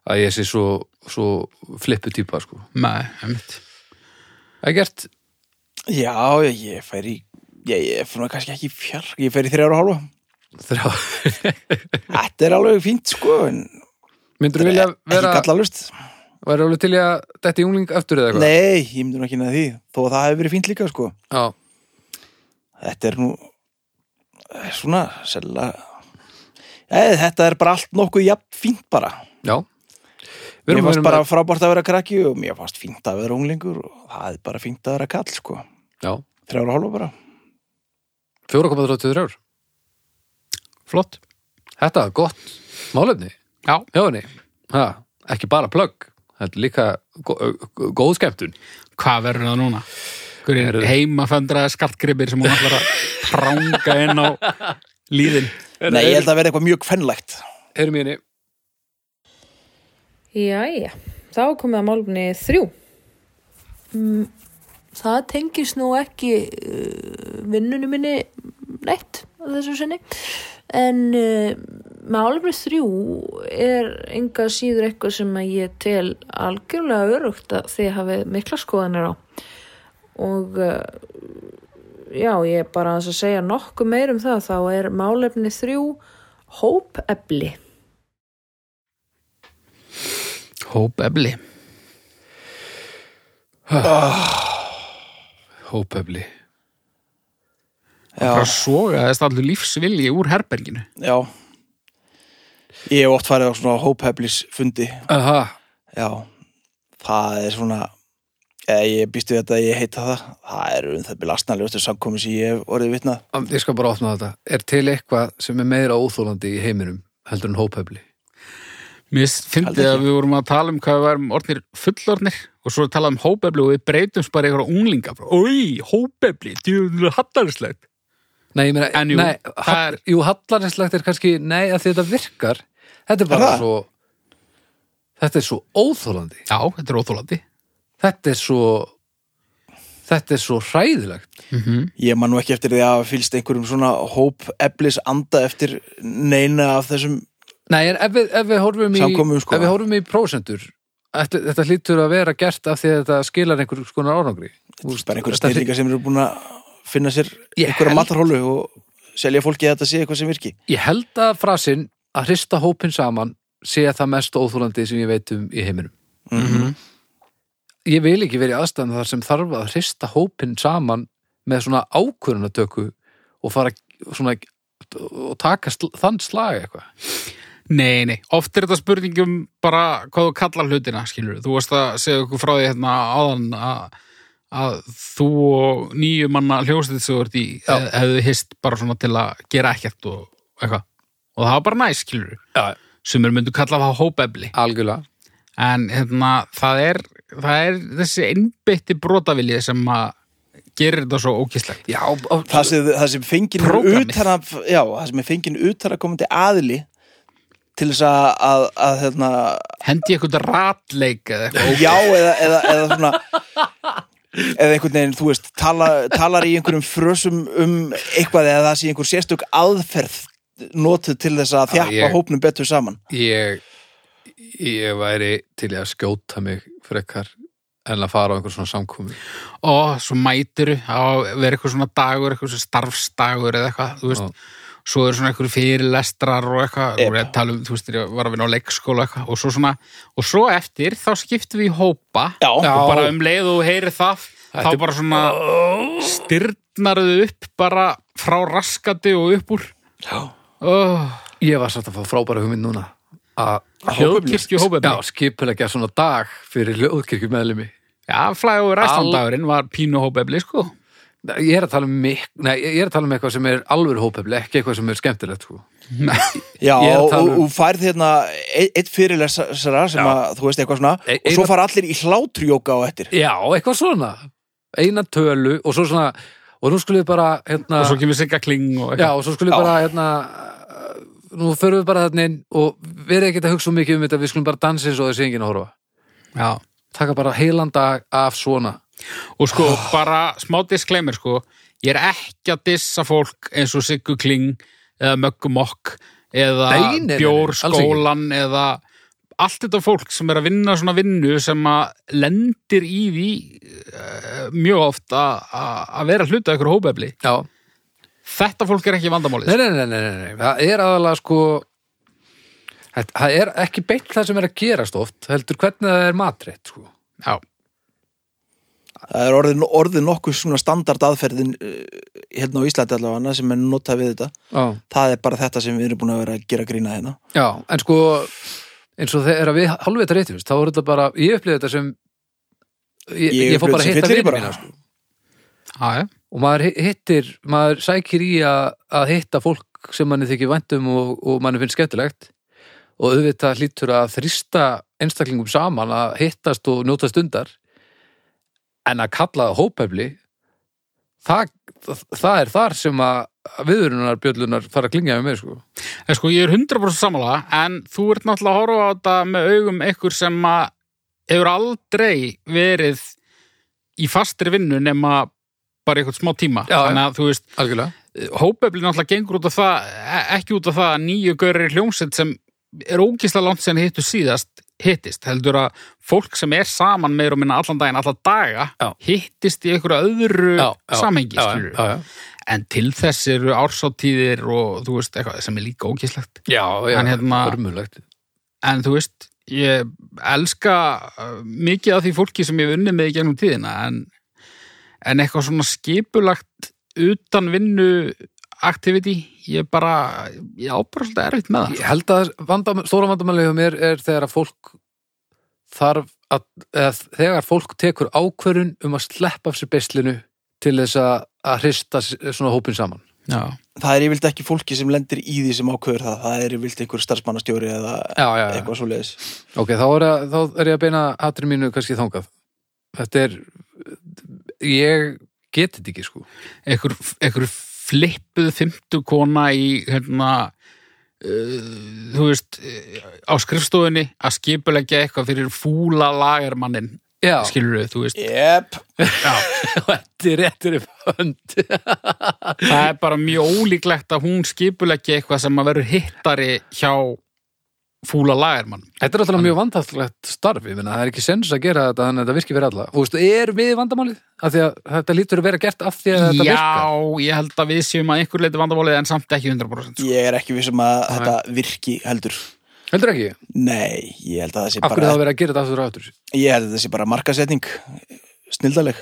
Speaker 1: að ég sé svo, svo flippu típa, sko
Speaker 2: nei, einmitt
Speaker 1: Það er gert,
Speaker 3: já, ég, ég fær í ég, ég fyrir kannski ekki í fjár ég fær í þrjára og hálfa
Speaker 1: þrjá
Speaker 3: þetta er alveg fínt sko en
Speaker 1: Myndur vilja
Speaker 3: ekki
Speaker 1: vera,
Speaker 3: gallalust
Speaker 1: væri alveg til í að þetta í ungling aftur eða eitthvað?
Speaker 3: nei, ég myndi nú ekki neða því þó að það hefur verið fínt líka sko
Speaker 1: Já,
Speaker 3: þetta er nú eh, svona sella Eð, þetta er bara allt nokkuð jafn fínt bara
Speaker 1: já Við
Speaker 3: mér
Speaker 1: erum-
Speaker 3: fannst
Speaker 1: erum-
Speaker 3: bara frábært að vera krakki og mér fannst fínt að vera unglingur og það er bara fínt að vera kall sko
Speaker 1: Já,
Speaker 3: þrjára og hálfa bara
Speaker 1: 4,33
Speaker 2: flott,
Speaker 1: Þetta er gott málefni
Speaker 2: já
Speaker 1: Já, henni, ha, ekki bara plögg, þetta er líka gó- gó- góð skemmtun.
Speaker 2: hvað verður það núna? Hverjir
Speaker 1: Heyrðu.
Speaker 2: heimaföndraði skartgripir sem hún ætlar að pranga inn á líðin
Speaker 3: nei, ég held að vera eitthvað mjög kvennlegt
Speaker 1: Heyrum í henni.
Speaker 4: Jæja, þá er komið að málumni þrjú. Mm, Það tengist nú ekki uh, vinnunum minni neitt á þessu sinni, en uh, málumni þrjú er enga síður eitthvað sem að ég tel algjörlega örugt að þið hafið mikla skoðanir á. Og uh, já, ég er bara aðeins að segja nokkuð meir um það, þá er málefni þrjú hópefli.
Speaker 2: hópefli
Speaker 1: Hópefli.
Speaker 2: bara
Speaker 3: já,
Speaker 2: sogaðist allur lífsvilji úr herberginu
Speaker 3: já ég hef oft farið á svona hópheflis fundi
Speaker 1: Aha,
Speaker 3: já, það er svona eða ég býst við þetta að ég heita það það eru um það byrja lastnarljóstu samkomi sem ég hef orðið vitnað
Speaker 1: am- ég skal bara opna þetta. Er til eitthvað sem er meira óþólandi í heiminum heldur en hópefli?
Speaker 2: mér
Speaker 3: Aldrei
Speaker 2: fyndi
Speaker 3: ekki.
Speaker 2: að við vorum að tala um hvað við varum orðnir fullorðnir og svo talaðum um hópefli og við breytumst bara í einhverja unglinga oi, hópefli, djúðulega hattarslegt
Speaker 1: Nei, ég meina,
Speaker 2: En jú,
Speaker 1: nei,
Speaker 2: það
Speaker 1: ha-
Speaker 2: er-
Speaker 1: jú hallarnislegt er kannski, nei, að því þetta virkar, þetta er bara
Speaker 3: það?
Speaker 1: svo, þetta er svo óþólandi.
Speaker 2: já, þetta er óþólandi
Speaker 1: þetta er svo þetta er svo hræðilegt
Speaker 2: Mhm.
Speaker 3: Ég man nú ekki eftir því að hafa fylgst einhverjum svona hóp eblis anda eftir neina af þessum
Speaker 1: Nei, en ef við, ef við horfum í
Speaker 3: Samkomum, sko.
Speaker 1: ef við horfum í prósentur þetta, þetta hlýtur að vera gert af því að þetta skilar einhver skonar árangri Þú veist,
Speaker 3: bara einhverjum
Speaker 1: þetta hlý-
Speaker 3: snillingar sem eru búin að finna sér
Speaker 1: Ég
Speaker 3: einhverja
Speaker 1: held-
Speaker 3: matarhólu og selja fólki að þetta sé eitthvað sem virki
Speaker 1: Ég held að frasinn að hrista hópin saman sé það mest óþúlandi sem ég veit um í heiminum. Ég vil ekki verið aðstæðan þar sem þarf að hrista hópin saman með svona ákvörunatöku og fara svona og taka sl þann slag eitthvað.
Speaker 2: Nei, nei, oft er þetta spurningum bara hvað þú kallar hlutina, skilur þú varst að segja okkur frá því hérna áðan að, að þú og nýju manna hljóstið sem þú ert í
Speaker 1: Já.
Speaker 2: hef- hefðu hist bara svona til að gera ekkert og eitthvað og það var bara næs, skilur
Speaker 1: Já.
Speaker 2: sem er myndu kalla það hópefli
Speaker 1: Algjörlega.
Speaker 2: en hérna, það er, það er þessi einbytti brotavilji sem að gerir þetta svo ókislegt
Speaker 1: Já, og-
Speaker 3: Það sem, það sem fengin er
Speaker 2: Prógrammið.
Speaker 3: utan að já, það sem er fengin utan að komandi aðili til þess að, að, að hérna,
Speaker 2: hendi eitthvað ratleik eða eitthvað
Speaker 3: já eða, eða, eða svona eða einhvern veginn, þú veist, tala, talar í einhverjum frösum um eitthvað eða það sé einhver sérstök aðferð notuð til þess að þjappa
Speaker 1: ég-
Speaker 3: hópnum betur saman
Speaker 1: ég, ég væri til í að skjóta mig frekar en að fara á einhver svona samkomi.
Speaker 2: og svo mætiru að vera eitthvað svona dagur, eitthvað svona starfsdagur eða eitthvað, þú veist svo eru svona eitthvað fyrirlestrar og eitthvað
Speaker 3: Ep.
Speaker 2: og ég tala um, þú veist, ég var að vinna á leikskóla og eitthvað, og svo svona, og svo eftir þá skiptum við í hópa
Speaker 3: Já,
Speaker 1: Já.
Speaker 2: og bara um leið og þú heyrir það
Speaker 1: Þetta er-
Speaker 2: þá bara svona styrnarðu upp bara frá raskandi og upp úr
Speaker 3: já.
Speaker 2: oh,
Speaker 1: Ég var satt að fá frábæra hugmynd núna að
Speaker 2: hljóðkirkju hópefni
Speaker 1: Já, skipulegja svona dag fyrir hljóðkirkju meðlumi.
Speaker 2: já, flæg og ræstandagurinn var pínu hópefni sko
Speaker 1: Ég er að tala um, mik nei, ég er að tala um eitthvað sem er alveg hópefli, ekki eitthvað sem er skemmtilegt. Sko.
Speaker 3: Já,
Speaker 1: Ég er að
Speaker 3: og,
Speaker 1: tala um-
Speaker 3: og færð hérna e- einn fyrirlesara sem
Speaker 1: Já.
Speaker 3: að, þú veist, eitthvað svona
Speaker 1: E-
Speaker 3: og svo
Speaker 1: eina-
Speaker 3: fara allir í hlátrjóka á eftir
Speaker 1: Já, eitthvað svona. Eina tölu og svo svona, og nú skulum við bara, hérna,
Speaker 2: og svo kemur sigga kling og
Speaker 1: já,
Speaker 2: eitthvað
Speaker 1: og svo skulum við
Speaker 3: Já.
Speaker 1: bara, hérna, uh, nú förum við bara þarna inn og verið ekkert að hugsa svo mikið um þetta, við skulum bara dansa eins og þessi enginn að horfa.
Speaker 2: já.
Speaker 1: Taka bara heilan dag af svona.
Speaker 2: Og sko, bara smá disclaimer sko, ég er ekki að dissa fólk eins og Siggu Kling eða Möggu Mokk eða
Speaker 1: Nei, nei, nei, nei,
Speaker 2: Bjórskólan eða allt þetta fólk sem er að vinna svona vinnu sem að lendir í því uh, mjög oft að- að að vera hluta af ykkur hópefli.
Speaker 1: Já.
Speaker 2: Þetta fólk er ekki vandamálið.
Speaker 1: Nei, nei, nei, nei, nei, nei. það er aðalega sko þetta- það er ekki beint það sem er að gerast oft heldur hvernig það er matrétt sko.
Speaker 2: Já,
Speaker 3: Það er orðið, orðið nokkuð svona standard aðferðin eh, hérna á Íslandi allavega sem er notað við þetta
Speaker 1: Já.
Speaker 3: Það er bara þetta sem við erum búin að vera að gera grína hérna
Speaker 1: Já, en sko eins og þegar við halvveit reytumst þá er þetta bara, ég upplýði þetta sem ég,
Speaker 3: Ég
Speaker 1: ég, fór
Speaker 3: upplifði
Speaker 1: bara að
Speaker 3: sem
Speaker 1: hitta
Speaker 3: fyllirí
Speaker 1: vinið
Speaker 3: bara.
Speaker 1: mína sko.
Speaker 2: já, já.
Speaker 1: og maður hi- hittir, maður sækir í að, að hitta fólk sem manni þykir væntum og, og manni finnst skemmtilegt og auðvitað hlýtur að þrista einstaklingum saman að hittast og njóta stundar en að kalla það hópefli það, það er þar sem að viðurunar bjöllunar fara að klingja með mér sko.
Speaker 2: En sko, ég er 100% sammála, en þú ert náttúrulega að horfa á þetta með augum ykkur sem að hefur aldrei verið í fastri vinnu nema bara eitthvað smá tíma.
Speaker 1: Já, já.
Speaker 2: Þannig að, þú veist,
Speaker 1: Algjörlega
Speaker 2: hópefli náttúrulega gengur út af það, e- ekki út af það að nýju gaurir hljómsett sem er ógislega langt sem hittu síðast hittist, heldur að fólk sem er saman meir og minna allan daginn, alla daga
Speaker 1: Já.
Speaker 2: hittist í einhverju öðru samhengi, skilur
Speaker 1: já, já,
Speaker 2: en til þess eru ársáttíðir og þú veist, eitthvað sem er líka ógislegt
Speaker 1: já, já,
Speaker 2: En hérna-
Speaker 1: örmulegt
Speaker 2: en þú veist, ég elska uh, mikið af því fólki sem ég hef unnið með í gegnum tíðina en, en eitthvað svona skipulagt utan vinnu activity, ég bara ég á bara svolítið erfitt með það
Speaker 1: Ég held að vandam, stóra vandamæli hjá mér er þegar að fólk þarf að, eða þegar fólk tekur ákvörun um að sleppa af sér beislinu til þess að, að hrista s- svona hópin saman.
Speaker 2: Já,
Speaker 3: Það er yfirleitt ekki fólki sem lendir í því sem ákveður það Það er yfirleitt einhver starfsmannastjóri eða
Speaker 1: Já, já,
Speaker 3: eitthvað svoleiðis
Speaker 1: Ok, þá er, að, þá er ég að beina hattur mínu kannski þangað. Þetta er, ég geti þetta ekki sko.
Speaker 2: einhver, einhver flippuð fimmtu kona í hérna uh, þú veist, uh, á skrifstofunni að skipulegja eitthvað fyrir fúla lagermannin
Speaker 1: Já,
Speaker 2: skilur við, þú veist
Speaker 3: Jep,
Speaker 1: þetta er réttur upp hönd.
Speaker 2: það er bara mjög ólíklegt að hún skipuleggi eitthvað sem að verður hittari hjá fúla lagarmann
Speaker 1: Þetta er alltaf mjög vandatlegt starf, ég menna, það er ekki sens að gera þetta, þannig að þetta virki fyrir alla. Þú veist, er við vandamálið? Af því að þetta lítur að vera gert af því að þetta virkar.
Speaker 2: Já, ég held að við séum að einhver leiti vandamálið en samt ekki 100% sko.
Speaker 3: ég er ekki vissum að þetta virki heldur
Speaker 1: Heldur ekki?
Speaker 3: Nei, ég held að það sé
Speaker 1: Af hverju
Speaker 3: bara
Speaker 1: það verið að gera þetta aftur og aftur?
Speaker 3: Ég held að það sé bara markasetning snildaleg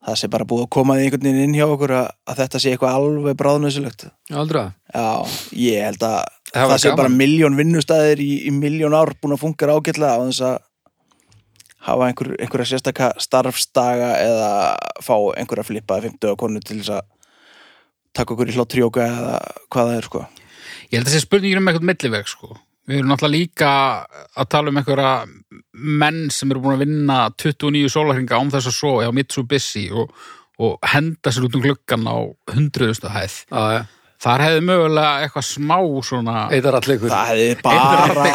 Speaker 3: Það sé bara búið að koma því einhvern veginn inn hjá okkur að, að þetta sé eitthvað alveg bráðnöðsulegt
Speaker 1: Aldra.
Speaker 3: Já, ég held að
Speaker 1: Það
Speaker 3: það,
Speaker 1: var
Speaker 3: sé
Speaker 1: gaman.
Speaker 3: bara miljón vinnustæðir í, í miljón ár búin að fungera ágætlega á þess að hafa einhver, einhverja sérstaka starfstaga eða fá einhverja flippaði 50 konu til þess að taka okkur í hlá trjóka eða hvað það er sko.
Speaker 2: Ég held að þessi spurningin um eitthvað milliveg sko. Við erum náttúrulega líka að tala um einhverja menn sem eru búin að vinna 29 sólarhinga án þess að svo eða Mitsubishi og, og henda sér út um gluggan á 100.000 hæð.
Speaker 1: Já, já.
Speaker 2: Þar hefði mögulega eitthvað smá svona
Speaker 1: Eitar alleikur.
Speaker 3: Það hefði bara,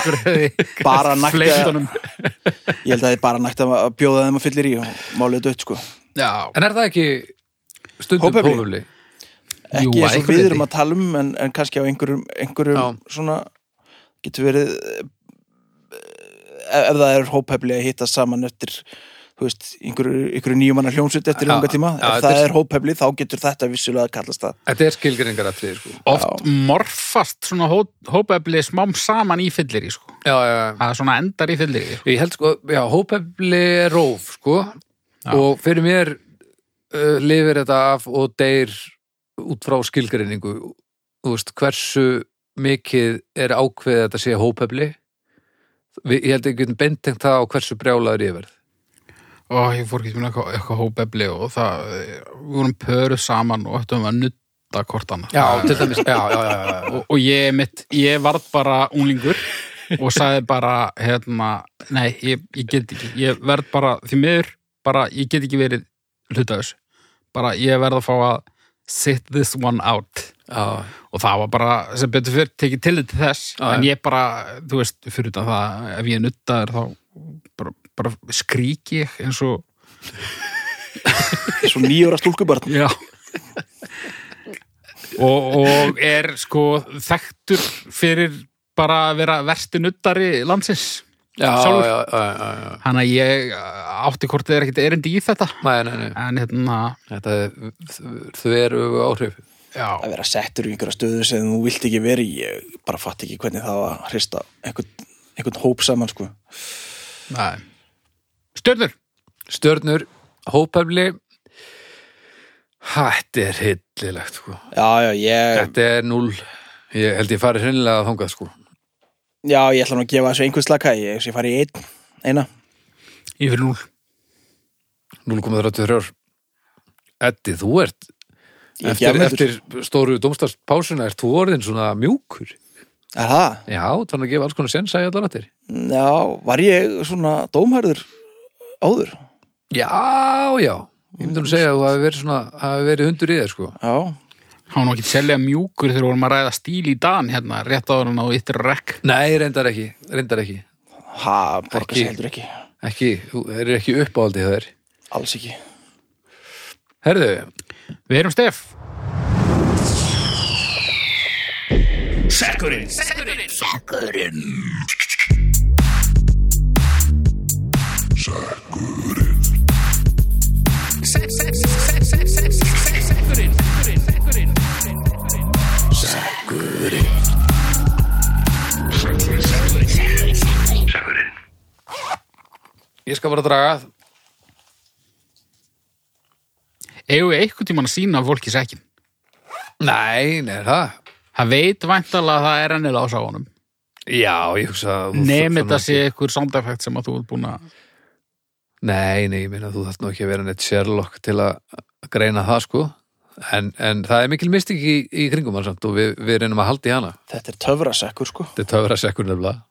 Speaker 3: bara nægt að,
Speaker 2: fleitunum.
Speaker 3: ég held að þið bara nægt að bjóða þeim að fyllir í og málið dött sko.
Speaker 2: Já,
Speaker 1: En er það ekki stundum
Speaker 3: Hópefli.
Speaker 1: hófumli?
Speaker 3: Ekki
Speaker 2: Jú, að
Speaker 3: eins og
Speaker 2: einhverju
Speaker 3: við erum að tala um en, en kannski á einhverjum, einhverjum
Speaker 1: Já.
Speaker 3: svona getur verið eh, ef ef það er hóphefli að hitta saman eftir þú veist, einhverju, einhverju nýjumanna hljónsut eftir
Speaker 1: Já,
Speaker 3: langa tíma,
Speaker 1: já,
Speaker 3: ef
Speaker 1: þetta
Speaker 3: það
Speaker 1: er-
Speaker 3: er hóphefli þá getur þetta vissulega að kallast það
Speaker 1: Þetta er skilgreiningar að sko.
Speaker 2: oft morfast svona hó, hópefli smám saman í fyllir sko.
Speaker 1: Já, já, já.
Speaker 2: Það er svona endar í fyllir
Speaker 1: Ég held sko, já, hópefli er róf, sko, og fyrir mér uh, lifir þetta af og deyr út frá skilgreiningu. Þú veist, hversu mikið er ákveðið að þetta sé hópefli? Við- Ég held að ég getum bentengt það á hversu brjálaður ég verð.
Speaker 2: Ó, ég fór ekki með eitthvað, eitthvað hópefli og það, við vorum pöruð saman og ættum að nutta kortana.
Speaker 1: til dæmis, já, já, já, já, já.
Speaker 2: Og, og ég mitt, ég varð bara unglingur og sagði bara, hérna, nei, ég, ég get ekki, ég verð bara, því miður, bara, ég get ekki verið hluta af þessu. Bara, ég verð að fá að sit this one out.
Speaker 1: já.
Speaker 2: Og það var bara, sem betur fyrir, tekið tillit til þess,
Speaker 1: Já,
Speaker 2: en
Speaker 1: já.
Speaker 2: ég bara, þú veist, fyrir utan það, ef ég er nuttaður þá bara, bara skrík ég eins og
Speaker 3: svo nýjóra stúlkubarn
Speaker 2: Já og, og er sko þekktur fyrir bara að vera versti nuttari landsins
Speaker 1: Já,
Speaker 2: Sjálfur.
Speaker 1: já, já, já, já.
Speaker 2: hann að ég eh, átti hvort þið er ekkit erindi í þetta
Speaker 1: Nei, nei, nei.
Speaker 2: en hérna
Speaker 1: Þetta er þveru áhrif.
Speaker 2: já,
Speaker 3: að vera settur í einhverja stöðu sem þú vilt ekki verið ég bara fatt ekki hvernig það var að hrista einhvern, einhvern hóp saman sko.
Speaker 2: nei Stjörnur,
Speaker 1: Stjörnur, hópefli, þetta er hillilegt, sko.
Speaker 3: já, já, ég,
Speaker 1: Þetta er núl Ég held ég farið hreinlega að þangað sko
Speaker 3: já, ég ætla nú að gefa þessu einhvern slaka ég, ég fari í einn, eina
Speaker 2: yfir núl
Speaker 1: 0,33 Eddi, þú ert
Speaker 3: Ég
Speaker 1: eftir,
Speaker 3: gjafmildur.
Speaker 1: eftir stóru domstafspásuna ert þú orðin svona mjúkur
Speaker 3: er það?
Speaker 1: Já, þannig að gefa alls konar sensa í allar áttir
Speaker 3: Já, var ég svona dómhærður áður?
Speaker 1: Já, já Ég myndi nú segja að þú hafi verið svona hafi verið hundur í þér sko
Speaker 3: Já,
Speaker 2: hann var nú ekki selja mjúkur þegar vorum að ræða stíl í dan hérna, rétt áður hann á yttir rekk
Speaker 1: Nei, reyndar ekki, reyndar ekki
Speaker 3: ha, borgar
Speaker 1: Ekki.
Speaker 3: sig heldur ekki
Speaker 1: Ekki, þú er ekki uppáhaldi hjá þér
Speaker 3: Alls ekki
Speaker 1: Herðu,
Speaker 2: við erum stef
Speaker 1: ég skal bara draga
Speaker 2: eigum við einhvern tímann að sína fólki sekkin
Speaker 1: Nei, nei, er það
Speaker 2: hann veit væntalega að það er ennilega á sáunum
Speaker 1: Já, ég hugsa að þú-
Speaker 2: nefn þetta
Speaker 1: þannig-
Speaker 2: sé einhver soundeffekt sem að þú ert búin að
Speaker 1: Nei, nei, ég meina þú þarft nú ekki að vera neitt Sherlock til að að greina það sko en, en það er mikil mystik í, í kringum hann samt og við, við reynum að halda í hana
Speaker 3: Þetta er töfrasekkur sko
Speaker 1: þetta er töfra sekkur nefnilega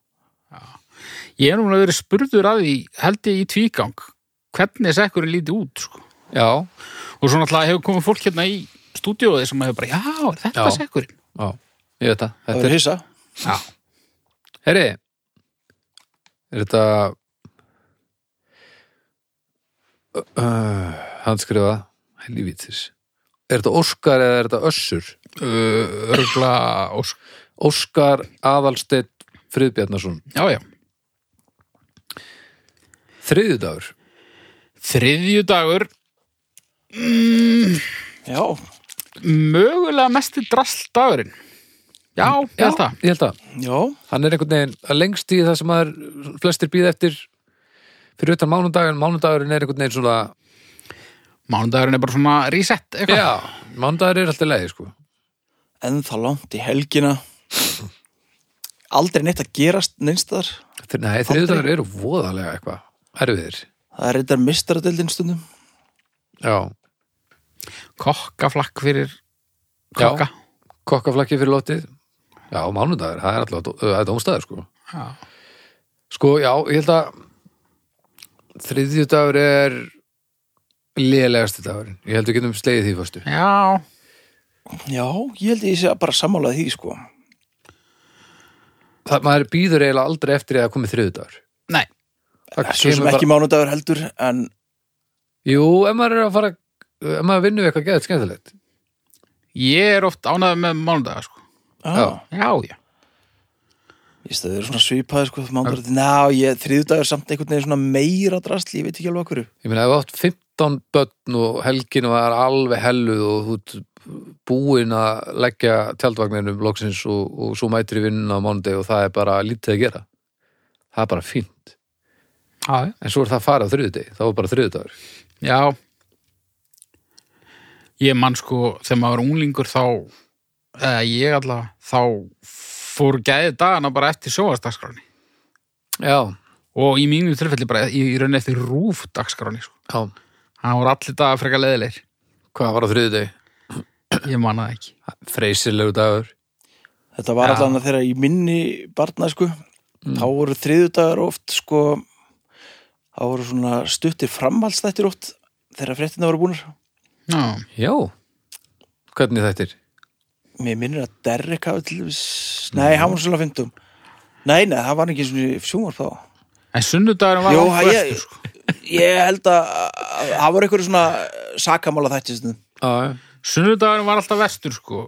Speaker 2: Ég er núna verið spurður að því, held ég í tvígang, hvernig sekkurinn líti út, sko.
Speaker 1: Já,
Speaker 2: Og svo náttúrulega hefur komið fólk hérna í stúdíóði sem hefur bara, já, er þetta
Speaker 1: Já.
Speaker 2: sekkurinn?
Speaker 1: já, ég veit það
Speaker 3: Það
Speaker 1: Þetta
Speaker 3: verður
Speaker 1: er,
Speaker 3: hissa
Speaker 2: Já.
Speaker 1: herri er þetta uh, hann skrifa helvítis er þetta Óskar eða er þetta Össur
Speaker 2: uh, örgla ósk
Speaker 1: Óskar Aðalsteinn Friðbjarnason
Speaker 2: já, já,
Speaker 1: þriðjudagur
Speaker 2: þriðju dagur
Speaker 3: Já,
Speaker 2: mögulega mesti drasl dagurinn já,
Speaker 1: Mm,
Speaker 2: já. þetta
Speaker 1: ég held að
Speaker 3: já,
Speaker 1: hann er einhvern veginn að lengst í það sem maður flestir býð eftir fyrir utan mánudaginn, mánudagurinn er einhvern veginn svona
Speaker 2: mánudagurinn er bara svona reset eitthvað
Speaker 1: já, mánudagur er alltaf leiði sko
Speaker 3: en þá langt í helgina Aldrei neitt að gerast neinstar
Speaker 1: Þri- nei, þriðjudagur eru voðalega eitthvað erfiðir
Speaker 3: Það er reyndar mistaradildin stundum
Speaker 1: já,
Speaker 2: kokkaflakk fyrir
Speaker 1: Já.
Speaker 2: kokka
Speaker 1: kokkaflakki fyrir lotið já, mánudagur, það er alltaf það er dómstæður sko
Speaker 2: já.
Speaker 1: Sko, já, ég held að þriðjudagur er lélegasti dagurinn. Ég held að við getum slegið því fyrstu.
Speaker 2: já,
Speaker 3: Já, ég held ég sé að bara sammála því sko
Speaker 1: Það maður býður eiginlega aldrei eftir að það komi þriðjudagur.
Speaker 2: nei,
Speaker 1: Það
Speaker 3: Svo sem
Speaker 1: bara-
Speaker 3: ekki mánudagur heldur En
Speaker 1: Jú, ef maður er að fara, ef maður vinnur við eitthvað geðið skemmtilegt.
Speaker 2: ég er oft ánægð með mánudagur sko.
Speaker 1: Já.
Speaker 3: Já,
Speaker 2: já, já,
Speaker 3: ég stöður svona svipaði sko Mánudagur, ná, ég þriðudagur samt einhvern veginn svona meira drastl Ég veit ekki alveg að hverju
Speaker 1: Ég meina, ef þú átt 15 börn og helgin var alveg helluð og þú ert búinn að leggja tjaldvagninum loksins og, og svo mætir í vinnuna á mánudag og það er bara lítið að gera. Það er bara fínt.
Speaker 2: já,
Speaker 1: En svo er það að fara á þriðjudegi. Þá er bara þriðjudagur.
Speaker 2: já. ég mann sko þegar maður var unglingur þá eða ég allavega þá fór gæði dagana bara eftir sjóðastagskránni
Speaker 1: Já,
Speaker 2: og í mínu tilfelli bara í, í rauninni eftir rúf dagskráni sko.
Speaker 1: já.
Speaker 2: það voru allir dagar frekar leðilegir
Speaker 1: Hvað var á þriðjudegi?
Speaker 2: ég manna það ekki
Speaker 1: Freysilegu dagur.
Speaker 3: Þetta var allan að þegar ég minni barna sko, þá voru þriðudagar oft sko, þá voru svona stuttir framhaldsþættir oft þegar fréttina voru búnar.
Speaker 2: já,
Speaker 1: Já. Hvernig þættir?
Speaker 3: Mér minnir að Derrick hafi til þess, nei, hann var svolítið að fyndum. Nei, nei, það var ekki eins og sjónvarp þá.
Speaker 2: en sunnudagurinn var
Speaker 3: Jó,
Speaker 2: langt á
Speaker 3: ég-
Speaker 2: eftir, sko.
Speaker 3: Ég held að að- það voru einhverju svona sakamála þættir stundum.
Speaker 1: Já,
Speaker 2: sunnudagurinn var alltaf vestur sko.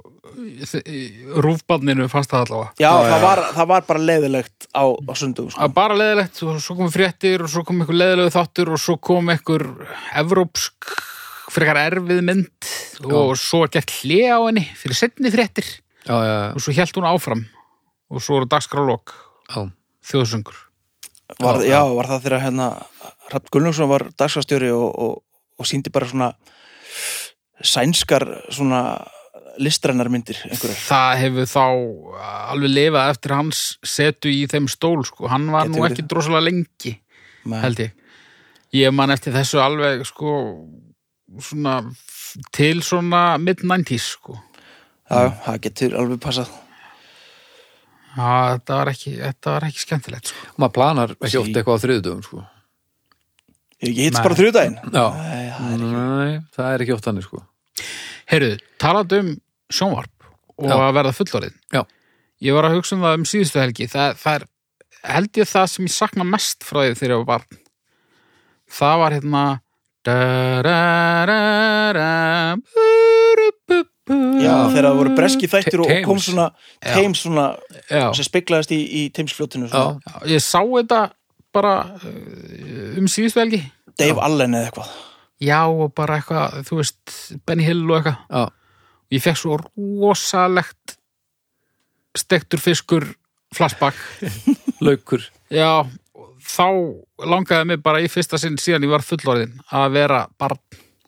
Speaker 2: rúfbarninu fannst það allavega
Speaker 3: Já, það, Var, það var bara leiðilegt á, á sundum sko.
Speaker 2: að bara leðilegt og svo komu fréttir og svo kom einhver leðilegu þáttur og svo kom einhver evrópsk frekar erfið mynd og svo er gert hlið á henni fyrir setni fréttir
Speaker 1: já, já.
Speaker 2: og svo held hún áfram og svo eru dagskrálok
Speaker 1: já.
Speaker 2: þjóðsöngur
Speaker 3: var, já, var það þegar hérna Rapp Gunnlaugsson var dagskastjóri og, og, og síndi bara svona sænskar svona listrænar myndir einhverjar.
Speaker 2: það hefur þá alveg lifað eftir hans setu í þeim stól sko. hann var
Speaker 3: Gæti
Speaker 2: nú
Speaker 3: verið.
Speaker 2: ekki drosalega lengi
Speaker 3: Með-
Speaker 2: held ég ég man eftir þessu alveg sko svona f- til svona mid-90s sko
Speaker 3: Já, já, það getur alveg passað
Speaker 2: Já, þetta var ekki, þetta var ekki skemmtilegt sko.
Speaker 1: Maður planar ekki
Speaker 3: Sí.
Speaker 1: oft eitthvað á þriðjudögum, sko.
Speaker 3: Ég ég hittist
Speaker 2: Nei.
Speaker 3: bara þrjúdægin
Speaker 1: Já.
Speaker 3: Já,
Speaker 1: Nei, það er ekki oft hannig, sko.
Speaker 2: Heyrðu, talandi um sjónvarp og
Speaker 1: Já.
Speaker 2: að verða fullorðin
Speaker 1: Já.
Speaker 2: Ég var að hugsa um það um síðustu helgi það, það er, held ég það sem ég sakna mest frá því þegar ég var barn Það var hérna
Speaker 3: já þegar það voru breski þættir og, og kom
Speaker 1: Thames.
Speaker 3: svona teims svona
Speaker 2: Já.
Speaker 3: sem speklaðist í, í teimsfljótinu svona,
Speaker 2: Já, Ég sá þetta bara uh, um síðustu helgi
Speaker 3: Dave Allen eða eitthvað
Speaker 2: Já, og bara eitthvað, þú veist Benny Hill og eitthvað
Speaker 1: Já.
Speaker 2: ég fekk svo rosalegt stektur fiskur flashback
Speaker 1: Laukur.
Speaker 2: já, þá langaði mig bara í fyrsta sinn síðan ég var fullorðin að vera barn,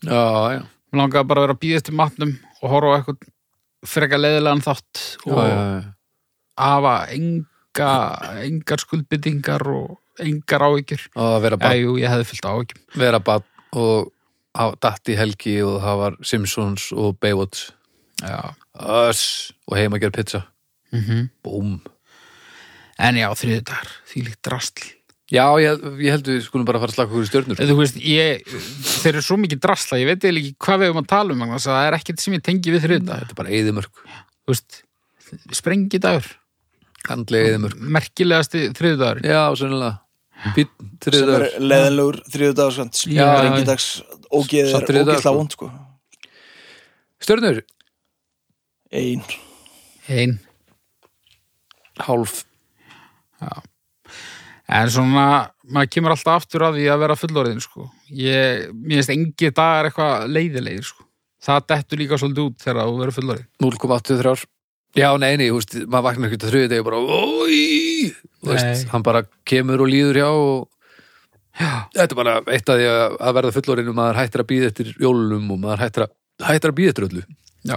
Speaker 1: Já, já.
Speaker 2: Mig langaði bara að vera að býðast í matnum og horfa á eitthvað freka leiðilegan þátt
Speaker 1: Já,
Speaker 2: og
Speaker 1: já, já.
Speaker 2: hafa enga, engar skuldbyttingar og engar áhyggjur
Speaker 1: Og að vera
Speaker 2: já,
Speaker 1: barn,
Speaker 2: jú, ég hefði fyllt áhyggjum
Speaker 1: vera barn og hafa datt í helgi og það var Simpsons og Baywatch.
Speaker 2: já.
Speaker 1: Öss. Og heima að gera pizza.
Speaker 2: Mm
Speaker 1: Mhm. Búm.
Speaker 2: en já, þriðudagar, þvílíkt drastl
Speaker 1: Já, ég, ég held við skulum bara fara að slaka okkur í stjörnur.
Speaker 2: Þú veist, ég, þeir eru svo mikið drasla, ég veit eiginlega ekki hvað við erum að tala um, vegna þess að það er ekkert sem ég tengi við þriðdagar.
Speaker 1: Þetta er bara eyðimörk.
Speaker 2: þú veist, sprengidagur
Speaker 1: Andlega eyðimörk.
Speaker 2: Mm. merkilegasti þriðdagur
Speaker 1: Já, sennilega. fínn
Speaker 3: sem er
Speaker 1: þriðdagur
Speaker 3: leðinlegur þriðudagur
Speaker 2: Já,
Speaker 1: já.
Speaker 3: rengidags og geðið
Speaker 1: Samt
Speaker 3: er
Speaker 1: þriðjudagur,
Speaker 3: ógeðsla
Speaker 1: sko.
Speaker 3: vond sko.
Speaker 1: Stjörnur,
Speaker 3: ein,
Speaker 2: Ein.
Speaker 1: hálf
Speaker 2: En svona, maður kemur alltaf aftur að því að vera fullorðin, sko. Ég, mér finnst engi dagar eitthvað leiðilegir, sko. Það dettur líka svolítið út þegar þú verður fullorðin.
Speaker 1: 0,83 Já, nei, nei, húst, maður vaknar ekkert að þriðið og bara, ói Þú veist,
Speaker 2: Nei.
Speaker 1: hann bara kemur og líður hjá og þetta er bara eitt af því að, að verða fullorinn og maður hættir að býða eftir jólum og maður hættir að, hættir að býða eftir öllu
Speaker 2: Já.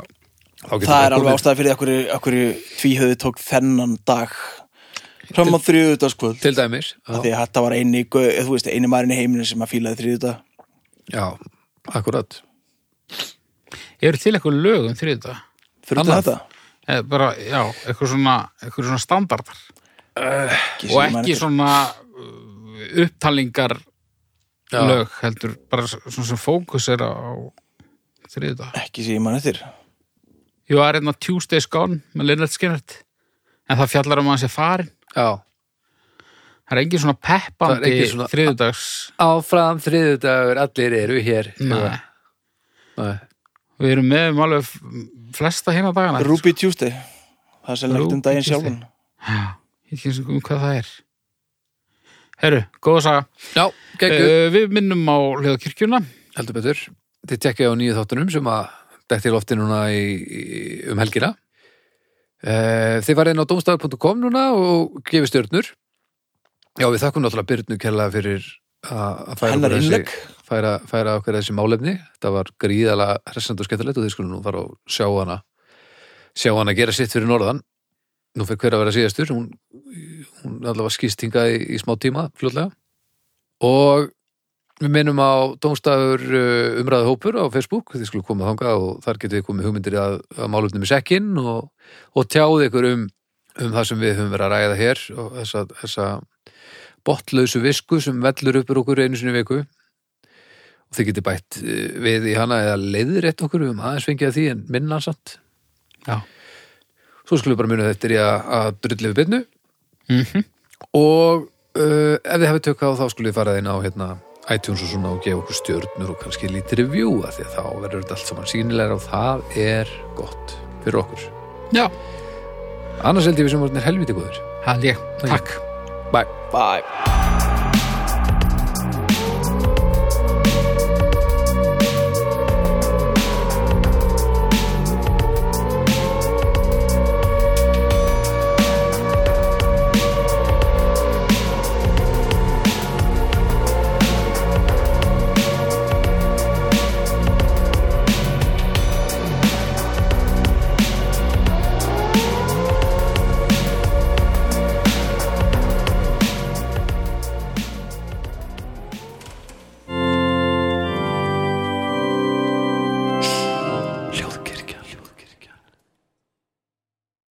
Speaker 3: það er alveg ástæði fyrir okkur, okkur tvíhöðu tók þennan dag fram á þriðudagskvöld
Speaker 1: Til dæmis,
Speaker 3: Af
Speaker 1: já,
Speaker 3: því að þetta var eini, gau- eða þú veist, eini maðurinn í heiminu sem að fílaði þriðudag
Speaker 1: já akkurat
Speaker 2: Eru til eitthvað lög um þriðudag?
Speaker 3: fyrir
Speaker 1: Annað.
Speaker 3: þetta
Speaker 2: Eða bara, já, eitthvað svona, eitthvað svona standardar.
Speaker 3: ekki
Speaker 2: Og
Speaker 3: sem ég man
Speaker 2: ekki
Speaker 3: eftir.
Speaker 2: svona uh, upptalingar
Speaker 1: Já.
Speaker 2: lög, heldur, bara svona sem fókus er á þriðudag.
Speaker 3: ekki sem ég mann eftir
Speaker 2: Jú, það er einna Tuesdays Gone með Linnert Skinnert. En það fjallar um að hans er farin.
Speaker 1: Já,
Speaker 2: Það er engin svona
Speaker 1: Það er
Speaker 2: peppandi
Speaker 1: engin svona-
Speaker 2: þriðudags...
Speaker 1: áfram þriðudagur, allir eru hér
Speaker 2: Nei.
Speaker 1: Nei.
Speaker 2: Við erum með um alveg f- flesta hérna dagana.
Speaker 3: Ruby Tuesday það er sérlega um
Speaker 2: Ruby
Speaker 3: daginn
Speaker 2: Tuesday.
Speaker 3: sjálfan
Speaker 2: Já, ég kynst um hvað það er. Herru, góða saga.
Speaker 1: Já, geggjum,
Speaker 2: Uh, við minnum á hljóðkirkjuna.
Speaker 1: heldur betur Þið tekkið á nýju þáttunum sem að detti í lofti núna í, í, um helgina Eh, Þið farið inn á domstafur.com núna og gefið stjörnur Já, við þakkum náttúrulega Byrnu kærlega fyrir að að færa
Speaker 3: hennar
Speaker 1: okkur þessi-
Speaker 3: innlegg
Speaker 1: færa, færa okkur þessi málefni þetta var gríðalega hressand og skemmtilegt og þið skulum nú fara og sjá hana sjá hana gera sitt fyrir norðan nú fyrir hver að vera síðastur hún, hún allavega skýst hingað í, í smá tíma fljótlega og við minnum á Dómstafur eh, umræðu hópur á Facebook þið skulum koma þangað og þar getum við komið hugmyndir að, að málefnum í sekkin og, og tjáði ykkur um, um það sem við höfum verið að ræða hér og þessa, þessa botlausu visku sem vellur uppur okkur einu sinni í viku og þið getið bætt eh, við í hana eða leiðir rétt okkur um aðeins fengið að því en minna samt.
Speaker 2: Já.
Speaker 1: Svo skulum við bara muna þetta í að, að drullu við byrnu
Speaker 2: Mm
Speaker 1: og uh, ef þið hafið tökkað þá skulum við fara inn á hérna, iTunes og svona og gefa okkur stjörnur og kannski lítið review af því að þá verður þetta allt saman sínilega og það er gott fyrir okkur.
Speaker 2: Já.
Speaker 1: Annars held ég við sem vorum helviti góður.
Speaker 2: Hald ég. Takk.
Speaker 1: Bye.
Speaker 3: bye